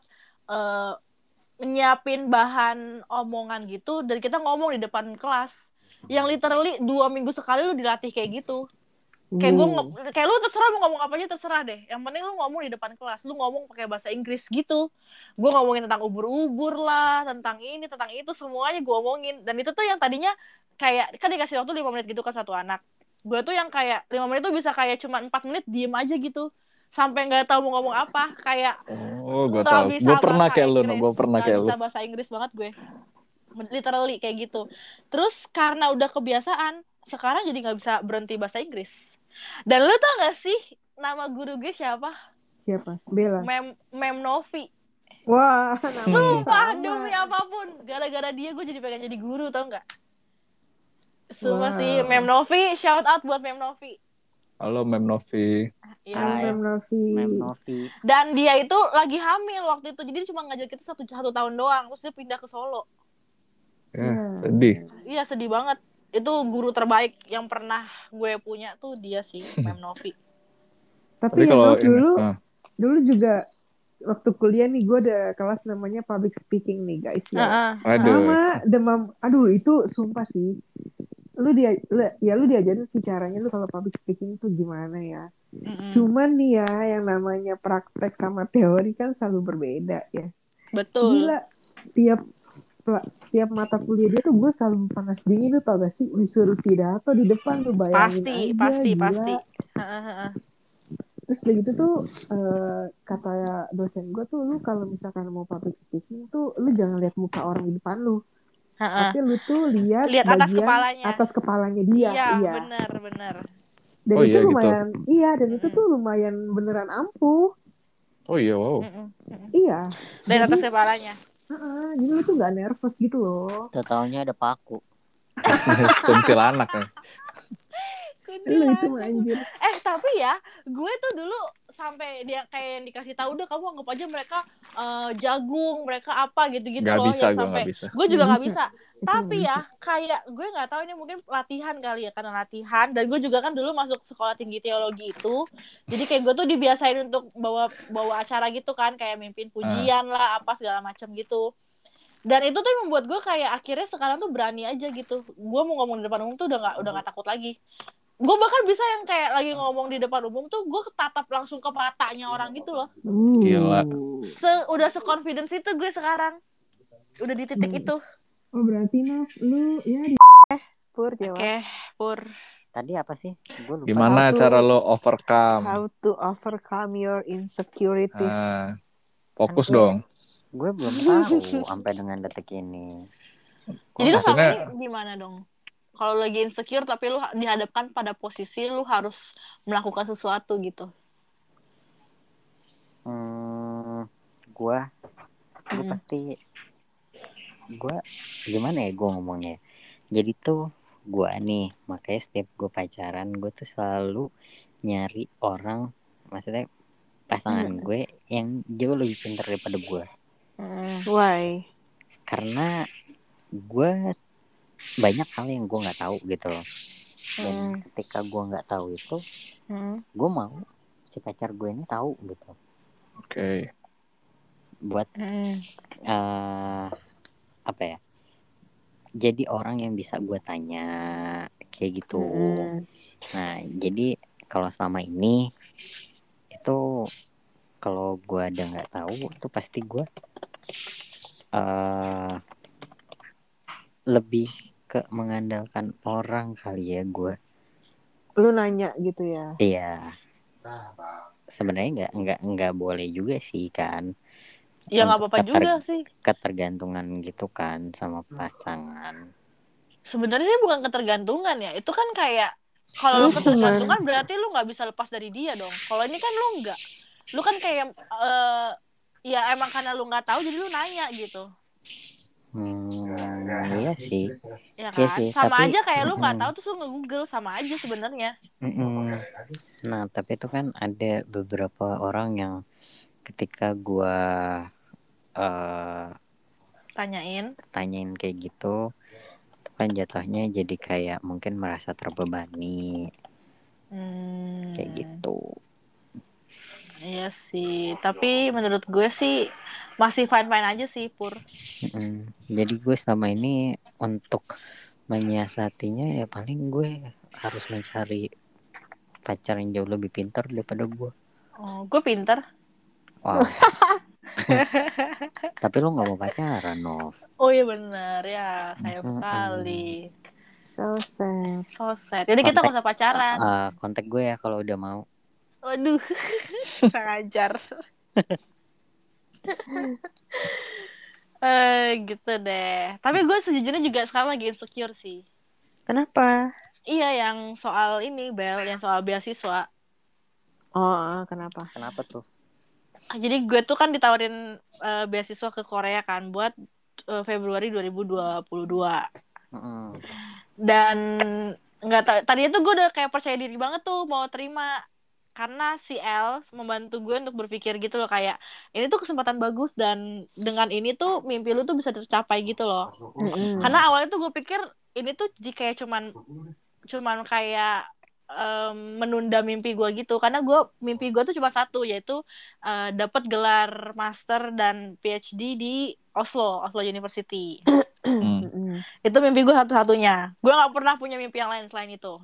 [SPEAKER 2] eh, nyiapin bahan omongan gitu dan kita ngomong di depan kelas yang literally dua minggu sekali lu dilatih kayak gitu kayak gue
[SPEAKER 4] Hmm.
[SPEAKER 2] kayak lu terserah mau ngomong apa aja terserah deh yang penting lu ngomong di depan kelas lu ngomong pakai bahasa Inggris gitu gue ngomongin tentang ubur-ubur lah tentang ini tentang itu semuanya gue ngomongin dan itu tuh yang tadinya kayak kan dikasih waktu 5 menit gitu ke satu anak gue tuh yang kayak 5 menit tuh bisa kayak cuma 4 menit diem aja gitu sampai nggak tahu mau ngomong apa kayak
[SPEAKER 1] Oh, gue
[SPEAKER 2] Nggak
[SPEAKER 1] tahu.
[SPEAKER 2] bisa
[SPEAKER 1] Gue pernah
[SPEAKER 2] bahasa
[SPEAKER 1] kayak lu,
[SPEAKER 2] Inggris.
[SPEAKER 1] gue pernah
[SPEAKER 2] Nggak
[SPEAKER 1] kayak lu.
[SPEAKER 2] bisa bahasa Inggris banget gue literally kayak gitu terus karena udah kebiasaan sekarang jadi nggak bisa berhenti bahasa Inggris dan lu tau gak sih nama guru gue siapa
[SPEAKER 4] siapa Bella
[SPEAKER 2] Mem Mem Novi
[SPEAKER 4] wah Naf.
[SPEAKER 2] sumpah ya
[SPEAKER 4] Sama.
[SPEAKER 2] demi apapun gara-gara dia gue jadi pengen jadi guru tau nggak Sumpah
[SPEAKER 4] Wow.
[SPEAKER 2] sih Mem Novi shout out buat Mem Novi
[SPEAKER 1] Halo, Mem Novi.
[SPEAKER 2] Iya.
[SPEAKER 4] Halo
[SPEAKER 3] Hai.
[SPEAKER 4] Mem Novi
[SPEAKER 3] Mem Novi.
[SPEAKER 2] dan dia itu lagi hamil waktu itu jadi dia cuma ngajar kita satu satu tahun doang terus dia pindah ke Solo
[SPEAKER 1] Ya,
[SPEAKER 2] Hmm.
[SPEAKER 4] Ya.
[SPEAKER 1] sedih.
[SPEAKER 2] Iya sedih banget. Itu guru terbaik yang pernah gue punya tuh dia sih, Mem Novi.
[SPEAKER 1] Tapi
[SPEAKER 4] tapi
[SPEAKER 2] Iya,
[SPEAKER 4] ya
[SPEAKER 1] kalau
[SPEAKER 4] Naf,
[SPEAKER 1] ini,
[SPEAKER 4] dulu
[SPEAKER 1] ah,
[SPEAKER 4] dulu juga waktu kuliah nih gue ada kelas namanya public speaking nih guys
[SPEAKER 2] Ah,
[SPEAKER 4] ya
[SPEAKER 1] aduh.
[SPEAKER 4] sama demam aduh itu sumpah sih lu dia lu- ya lu diajarin sih caranya lu kalau public speaking tuh gimana ya
[SPEAKER 2] Hmm. Mm-mm.
[SPEAKER 4] cuman nih ya yang namanya praktek sama teori kan selalu berbeda ya
[SPEAKER 2] Betul.
[SPEAKER 4] gila tiap pla- tiap mata kuliah dia tuh gue selalu panas dingin tuh tau gak sih disuruh pidato di depan lu bayangin
[SPEAKER 2] Pasti,
[SPEAKER 4] aja,
[SPEAKER 2] pasti,
[SPEAKER 4] gila.
[SPEAKER 2] pasti. Heeh, heeh.
[SPEAKER 4] terus udah gitu tuh eh, kata dosen gue tuh lu kalau misalkan mau public speaking tuh lu jangan lihat muka orang di depan lu
[SPEAKER 2] Heeh.
[SPEAKER 5] Ah.
[SPEAKER 4] tapi lu tuh lihat
[SPEAKER 2] Lihat atas
[SPEAKER 4] bagian
[SPEAKER 2] kepalanya.
[SPEAKER 4] atas kepalanya dia
[SPEAKER 2] Iya,
[SPEAKER 4] iya
[SPEAKER 2] benar, benar.
[SPEAKER 4] dan
[SPEAKER 1] Oh
[SPEAKER 4] itu
[SPEAKER 1] iya, gitu.
[SPEAKER 4] lumayan iya dan itu
[SPEAKER 2] Mm.
[SPEAKER 4] tuh lumayan beneran ampuh
[SPEAKER 1] Oh iya, wow.
[SPEAKER 2] Mm-mm.
[SPEAKER 4] iya
[SPEAKER 2] Dan
[SPEAKER 4] Jadi-
[SPEAKER 2] atas kepalanya.
[SPEAKER 4] Heeh, jadi lu tuh gak nervous gitu loh
[SPEAKER 3] Totalnya ada paku.
[SPEAKER 1] Kuntilanak. ya.
[SPEAKER 5] Iya,
[SPEAKER 4] lu Iya, itu
[SPEAKER 2] Kuntilanak.
[SPEAKER 4] mah anjir
[SPEAKER 2] Eh tapi ya, gue tuh dulu sampai dia kayak yang dikasih tahu udah kamu anggap aja mereka eh, jagung, mereka apa gitu-gitu
[SPEAKER 1] Gak
[SPEAKER 2] Gitu loh
[SPEAKER 1] bisa,
[SPEAKER 2] yang
[SPEAKER 1] gue
[SPEAKER 2] sampai
[SPEAKER 1] gak bisa.
[SPEAKER 2] gue juga
[SPEAKER 4] Nggak
[SPEAKER 2] nggak bisa
[SPEAKER 4] Itu
[SPEAKER 2] tapi
[SPEAKER 4] nggak
[SPEAKER 2] ya kayak gue nggak tahu ini mungkin latihan kali ya karena latihan dan gue juga kan dulu masuk sekolah tinggi teologi itu jadi kayak gue tuh dibiasain untuk bawa bawa acara gitu kan kayak
[SPEAKER 4] Ah.
[SPEAKER 2] mimpin pujian lah apa segala macam gitu dan itu tuh yang membuat gue kayak akhirnya sekarang tuh berani aja gitu gue mau ngomong di depan umum tuh udah nggak udah nggak takut lagi gue bahkan bisa yang kayak lagi ngomong di depan umum tuh gue tatap langsung ke matanya orang gitu loh
[SPEAKER 4] Uh.
[SPEAKER 1] Gila.
[SPEAKER 2] se udah seconfidence itu gue sekarang udah di titik
[SPEAKER 4] Hmm.
[SPEAKER 2] itu
[SPEAKER 4] oh berarti Naf, lu ya di
[SPEAKER 5] Eh, Pur
[SPEAKER 2] oke
[SPEAKER 5] jawab
[SPEAKER 2] pur
[SPEAKER 3] Tadi apa sih? Gue lupa.
[SPEAKER 5] How
[SPEAKER 1] Gimana
[SPEAKER 5] to-
[SPEAKER 1] cara lo overcome?
[SPEAKER 5] How to overcome your insecurities
[SPEAKER 1] Ah, fokus
[SPEAKER 3] Kan gue-
[SPEAKER 1] dong.
[SPEAKER 3] Gue belum tahu sampai dengan detik ini.
[SPEAKER 1] Kok
[SPEAKER 2] Jadi lu sama
[SPEAKER 1] maksudnya-
[SPEAKER 2] ini gimana dong? Kalau lagi insecure tapi lu ha- dihadapkan pada posisi lu harus melakukan sesuatu gitu.
[SPEAKER 3] Hmm, gue gue
[SPEAKER 2] Hmm.
[SPEAKER 3] pasti gue gimana ya gue ngomongnya jadi tuh gue nih makanya setiap gue pacaran gue tuh selalu nyari orang maksudnya pasangan gue yang jauh lebih pintar daripada gue
[SPEAKER 4] Mm-hmm.
[SPEAKER 5] Why?
[SPEAKER 3] karena gue banyak hal yang gue nggak tahu gitu loh dan
[SPEAKER 5] Hmm.
[SPEAKER 3] ketika gue nggak tahu itu
[SPEAKER 5] Hmm.
[SPEAKER 3] gue mau si pacar gue ini tahu gitu
[SPEAKER 1] Oke.
[SPEAKER 3] buat eh apa ya jadi orang yang bisa gue tanya kayak gitu
[SPEAKER 2] Hmm. Mm-hmm.
[SPEAKER 3] nah jadi kalau selama ini itu kalau gue ada nggak tahu itu pasti gue eh lebih ke mengandalkan orang kali ya gue
[SPEAKER 5] Lu nanya gitu ya.
[SPEAKER 3] iya sebenarnya nggak nggak nggak boleh juga sih kan
[SPEAKER 2] Ya nggak
[SPEAKER 3] Untuk
[SPEAKER 2] apa-apa
[SPEAKER 3] keter-
[SPEAKER 2] juga sih.
[SPEAKER 3] ketergantungan gitu kan sama pasangan
[SPEAKER 2] Sebenarnya sih bukan ketergantungan ya. Itu kan kayak Kalau lu
[SPEAKER 5] Lu cuman-
[SPEAKER 2] ketergantungan berarti lu nggak bisa lepas dari dia dong. Kalau ini kan lu nggak. Lu kan kayak eh, ya emang karena lu nggak tahu jadi lu nanya gitu.
[SPEAKER 1] Hmm,
[SPEAKER 3] Iya sih.
[SPEAKER 2] Ya
[SPEAKER 3] Iya
[SPEAKER 2] kan?
[SPEAKER 3] sih,
[SPEAKER 2] sama
[SPEAKER 3] tapi-
[SPEAKER 2] aja kayak lu nggak
[SPEAKER 3] Mm-mm.
[SPEAKER 2] tahu terus lu nge-google sama aja sebenarnya.
[SPEAKER 3] Mm-mm. Nah, tapi itu kan ada beberapa orang yang ketika gua eh
[SPEAKER 2] Tanyain.
[SPEAKER 3] tanyain kayak gitu, itu kan jatuhnya jadi kayak mungkin merasa terbebani
[SPEAKER 2] Hmm.
[SPEAKER 3] kayak gitu.
[SPEAKER 2] Iya sih, tapi menurut gue sih masih fine-fine aja sih Pur.
[SPEAKER 3] Mm-mm. Jadi gue selama ini untuk menyiasatinya ya paling gue harus mencari pacar yang jauh lebih pintar daripada gue.
[SPEAKER 2] Oh, gue pinter.
[SPEAKER 3] Wow. Tapi lo nggak mau pacaran, Nov.
[SPEAKER 2] Oh iya bener ya, sayang
[SPEAKER 3] Mm-mm.
[SPEAKER 2] sekali.
[SPEAKER 5] So sad.
[SPEAKER 2] So sad. Jadi kita nggak usah
[SPEAKER 3] Kontak-
[SPEAKER 2] pacaran.
[SPEAKER 3] Eh, kontak gue ya kalau udah mau. ah.
[SPEAKER 2] Waduh, kurang ajar. Eh gitu deh. Tapi gue sejujurnya juga sekarang lagi insecure sih.
[SPEAKER 5] Kenapa?
[SPEAKER 2] Iya yang soal ini Bel, yang soal beasiswa.
[SPEAKER 4] ah,
[SPEAKER 5] Oh, kenapa?
[SPEAKER 3] Kenapa tuh?
[SPEAKER 2] Ah, Jadi gue tuh kan ditawarin eh, beasiswa ke Korea kan buat eh, Februari 2022. dan nggak ta- tadinya tuh gue udah kayak percaya diri banget tuh mau terima karena si L membantu gue untuk berpikir gitu loh kayak ini tuh kesempatan bagus dan dengan ini tuh mimpi lu tuh bisa tercapai gitu loh
[SPEAKER 5] Mm-mm.
[SPEAKER 2] karena awalnya tuh gue pikir ini tuh jadi kayak cuman cuman kayak em, menunda mimpi gue gitu karena gue mimpi gue tuh cuma satu yaitu eh, dapat gelar master dan PhD di Oslo Oslo University
[SPEAKER 1] Hmm.
[SPEAKER 5] Mm-mm.
[SPEAKER 2] itu mimpi gue satu-satunya gue nggak pernah punya mimpi yang lain selain itu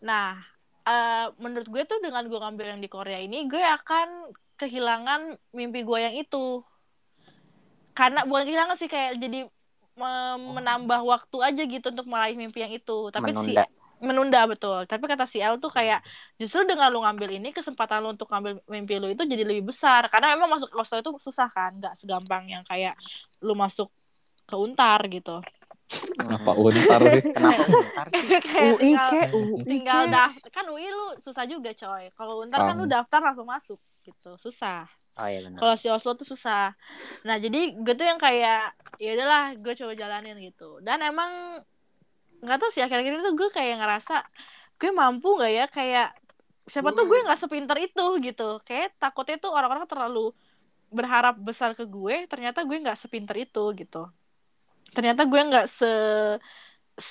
[SPEAKER 2] nah eh, menurut gue tuh dengan gue ngambil yang di Korea ini gue akan kehilangan mimpi gue yang itu karena bukan kehilangan sih kayak jadi me- menambah waktu aja gitu untuk meraih mimpi yang itu tapi si
[SPEAKER 3] Menunda.
[SPEAKER 2] menunda betul tapi kata si L tuh kayak justru dengan lu ngambil ini kesempatan lu untuk ngambil mimpi lu itu jadi lebih besar karena memang masuk Oslo itu susah kan nggak segampang yang kayak lu masuk ke Untar gitu
[SPEAKER 1] Kenapa untar sih?
[SPEAKER 3] Kenapa bentar?
[SPEAKER 2] Kayak
[SPEAKER 4] Oh, iya,
[SPEAKER 5] UI
[SPEAKER 2] tinggal-
[SPEAKER 5] kek, UI
[SPEAKER 2] tinggal
[SPEAKER 5] kek.
[SPEAKER 2] daftar kan UI lu susah juga coy kalau untar kan lu daftar langsung masuk gitu susah
[SPEAKER 3] Oh iya benar.
[SPEAKER 2] kalau si Oslo tuh susah nah jadi gue tuh yang kayak ya udahlah gue coba jalanin gitu dan emang nggak tahu sih akhir-akhir ini tuh gue kayak ngerasa gue mampu nggak ya kayak siapa tuh gue nggak sepinter itu gitu kayak takutnya tuh orang-orang terlalu berharap besar ke gue ternyata gue nggak sepinter itu gitu ternyata gue nggak se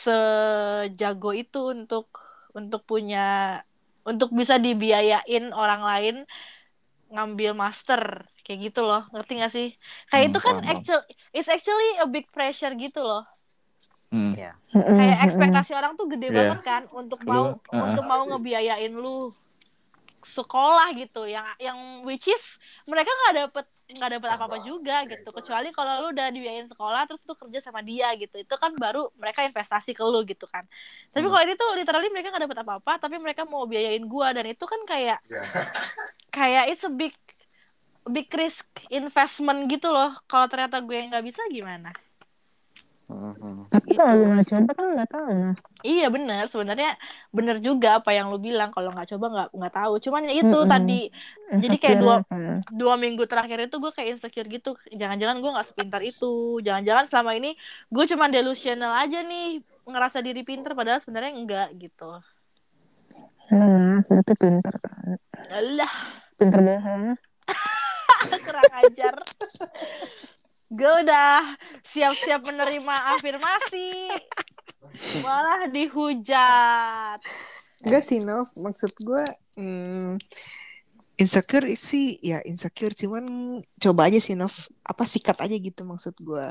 [SPEAKER 2] sejago itu untuk untuk punya untuk bisa dibiayain orang lain ngambil master kayak gitu loh ngerti gak sih kayak
[SPEAKER 1] Hmm,
[SPEAKER 2] itu kan
[SPEAKER 1] paham, paham.
[SPEAKER 2] actually it's actually a big pressure gitu loh
[SPEAKER 1] Hmm.
[SPEAKER 2] kayak ekspektasi orang tuh gede
[SPEAKER 1] Iya.
[SPEAKER 2] banget kan untuk
[SPEAKER 1] Lu,
[SPEAKER 2] mau
[SPEAKER 1] uh-uh.
[SPEAKER 2] untuk mau ngebiayain lu sekolah gitu yang yang which is mereka nggak dapet nggak dapet apa apa juga gitu kecuali kalau lu udah dibiayain sekolah terus tuh kerja sama dia gitu itu kan baru mereka investasi ke lu gitu kan tapi
[SPEAKER 1] Hmm.
[SPEAKER 2] kalau ini tuh literally mereka nggak dapet apa apa tapi mereka mau biayain gua dan itu kan kayak kayak it's a big big risk investment gitu loh kalau ternyata gue nggak bisa gimana
[SPEAKER 3] Mm-mm.
[SPEAKER 5] Tapi
[SPEAKER 2] kalau lu
[SPEAKER 5] nggak coba kan nggak tahu nah.
[SPEAKER 2] Iya bener, sebenarnya bener juga apa yang lu bilang kalau nggak coba nggak nggak tahu. Cuman ya itu
[SPEAKER 5] Mm-mm.
[SPEAKER 2] tadi Jadi kayak dua- dua minggu terakhir itu gue kayak insecure gitu. Jangan-jangan gue nggak sepintar itu. Jangan-jangan selama ini gue cuman delusional aja nih ngerasa diri pinter padahal sebenarnya enggak gitu.
[SPEAKER 5] Enggak, lu tuh pinter
[SPEAKER 2] Alah,
[SPEAKER 5] Pinter bohong.
[SPEAKER 2] kurang ajar. Gue udah siap-siap menerima afirmasi. Malah dihujat.
[SPEAKER 5] Enggak sih, Nov. Maksud gue hmm, insecure sih ya insecure cuman coba aja sih Nov apa sikat aja gitu maksud gue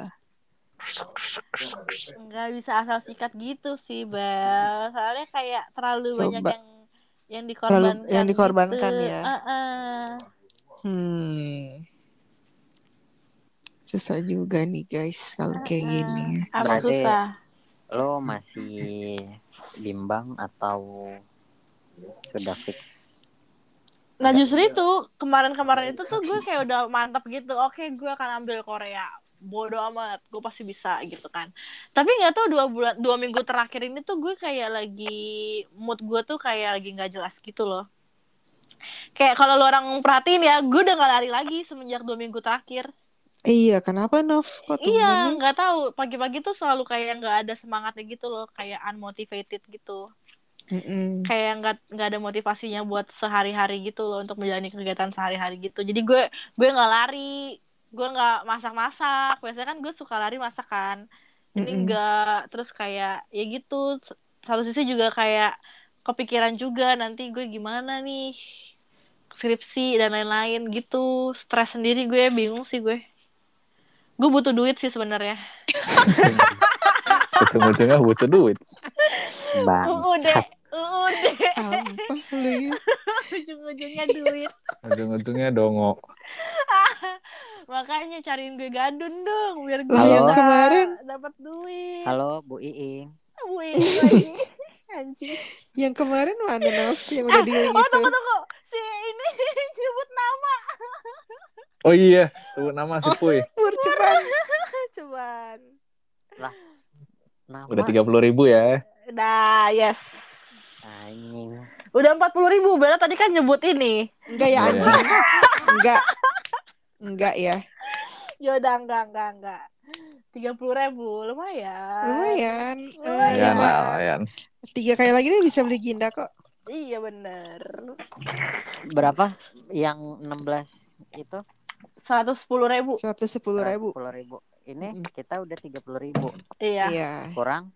[SPEAKER 2] nggak bisa asal sikat gitu sih bel soalnya kayak terlalu
[SPEAKER 5] Coba.
[SPEAKER 2] banyak yang yang dikorbankan
[SPEAKER 5] Terlalu- yang dikorbankan
[SPEAKER 2] gitu.
[SPEAKER 5] ya.
[SPEAKER 2] Heeh.
[SPEAKER 5] hmm susah juga nih guys kalau kayak gini
[SPEAKER 2] apa
[SPEAKER 3] Berarti-
[SPEAKER 2] susah Nah,
[SPEAKER 3] Lo masih bimbang atau sudah fix?
[SPEAKER 2] nah justru itu kemarin-kemarin itu tuh gue kayak udah mantap gitu oke gue akan ambil Korea bodo amat gue pasti bisa gitu kan tapi nggak tahu dua bulan dua minggu terakhir ini tuh gue kayak lagi mood gue tuh kayak lagi nggak jelas gitu loh kayak kalau lo orang perhatiin ya gue udah gak lari lagi semenjak dua minggu terakhir
[SPEAKER 4] Iya, kenapa Nov? Kok
[SPEAKER 2] iya
[SPEAKER 4] tumben?
[SPEAKER 2] nggak tahu pagi-pagi tuh selalu kayak nggak ada semangatnya gitu loh kayak unmotivated gitu
[SPEAKER 4] Mm-mm.
[SPEAKER 2] kayak nggak nggak ada motivasinya buat sehari-hari gitu loh untuk menjalani kegiatan sehari-hari gitu jadi gue gue nggak lari gue nggak masak-masak biasanya kan gue suka lari masak kan ini
[SPEAKER 4] Mm-mm.
[SPEAKER 2] enggak terus kayak ya gitu S- satu sisi juga kayak kepikiran juga nanti gue gimana nih skripsi dan lain-lain gitu stres sendiri gue bingung sih gue gue butuh duit sih sebenarnya
[SPEAKER 1] Ujung-ujungnya butuh duit.
[SPEAKER 3] Bang.
[SPEAKER 2] uud uud
[SPEAKER 4] Sampah lu ya.
[SPEAKER 2] ujung-ujungnya duit
[SPEAKER 1] Ujung-ujungnya dongo.
[SPEAKER 2] Makanya cariin gue gadun dong biar gue
[SPEAKER 4] Lah,
[SPEAKER 1] yang
[SPEAKER 2] bisa
[SPEAKER 4] kemarin.
[SPEAKER 2] dapat duit.
[SPEAKER 3] Halo Bu Iing.
[SPEAKER 2] Wih, wih. Anjing.
[SPEAKER 4] Yang kemarin mana Nov? Yang udah deal
[SPEAKER 2] Oh,
[SPEAKER 4] gitu.
[SPEAKER 2] tunggu tunggu. Si ini nyebut nama
[SPEAKER 1] Oh iya, sebut nama si Puy.
[SPEAKER 4] Percobaan.
[SPEAKER 2] cuman.
[SPEAKER 3] Nama.
[SPEAKER 1] Udah tiga puluh ribu ya.
[SPEAKER 2] Nah, yes.
[SPEAKER 3] Anjing.
[SPEAKER 2] Udah empat puluh ribu. Bella tadi kan nyebut ini.
[SPEAKER 4] Enggak ya
[SPEAKER 1] Iya.
[SPEAKER 4] anjing. Enggak. Enggak ya.
[SPEAKER 2] Ya udah enggak enggak enggak. Tiga puluh ribu lumayan.
[SPEAKER 4] Lumayan. Eh,
[SPEAKER 2] Lumayan.
[SPEAKER 1] Ya
[SPEAKER 4] lima.
[SPEAKER 1] lah, Yan.
[SPEAKER 4] Tiga kali lagi dia bisa beli ginda kok.
[SPEAKER 2] Iya bener.
[SPEAKER 3] Berapa? Yang 16 itu?
[SPEAKER 2] Seratus sepuluh ribu.
[SPEAKER 4] 110 ribu.
[SPEAKER 3] 10 ribu. Ini
[SPEAKER 4] Mm-mm.
[SPEAKER 3] kita udah 30 ribu.
[SPEAKER 2] Iya.
[SPEAKER 4] Iya.
[SPEAKER 3] Kurang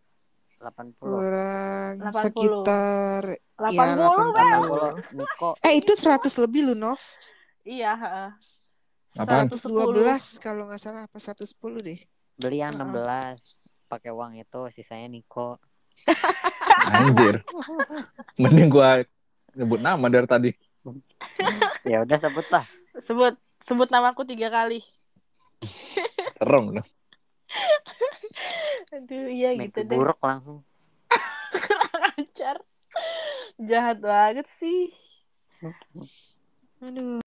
[SPEAKER 3] 80.
[SPEAKER 4] Kurang
[SPEAKER 2] 80.
[SPEAKER 4] sekitar.
[SPEAKER 2] Delapan
[SPEAKER 4] Iya,
[SPEAKER 2] puluh.
[SPEAKER 4] 80.
[SPEAKER 2] Bel.
[SPEAKER 3] 80 Miko.
[SPEAKER 4] Eh itu 100 lebih lu Nov.
[SPEAKER 2] Iya. heeh.
[SPEAKER 1] Apaan?
[SPEAKER 4] 112 kalau nggak salah apa 110 deh.
[SPEAKER 3] Beli yang
[SPEAKER 2] Mm-mm.
[SPEAKER 3] 16. Pakai uang itu sisanya Niko.
[SPEAKER 1] Anjir. Mending gua sebut nama dari tadi.
[SPEAKER 3] Ya udah sebut lah.
[SPEAKER 2] Sebut sebut namaku tiga kali.
[SPEAKER 1] Serem loh.
[SPEAKER 2] Aduh, iya gitu
[SPEAKER 3] Mimpi
[SPEAKER 2] deh.
[SPEAKER 3] buruk langsung.
[SPEAKER 2] Acar. Jahat banget sih.
[SPEAKER 4] Aduh.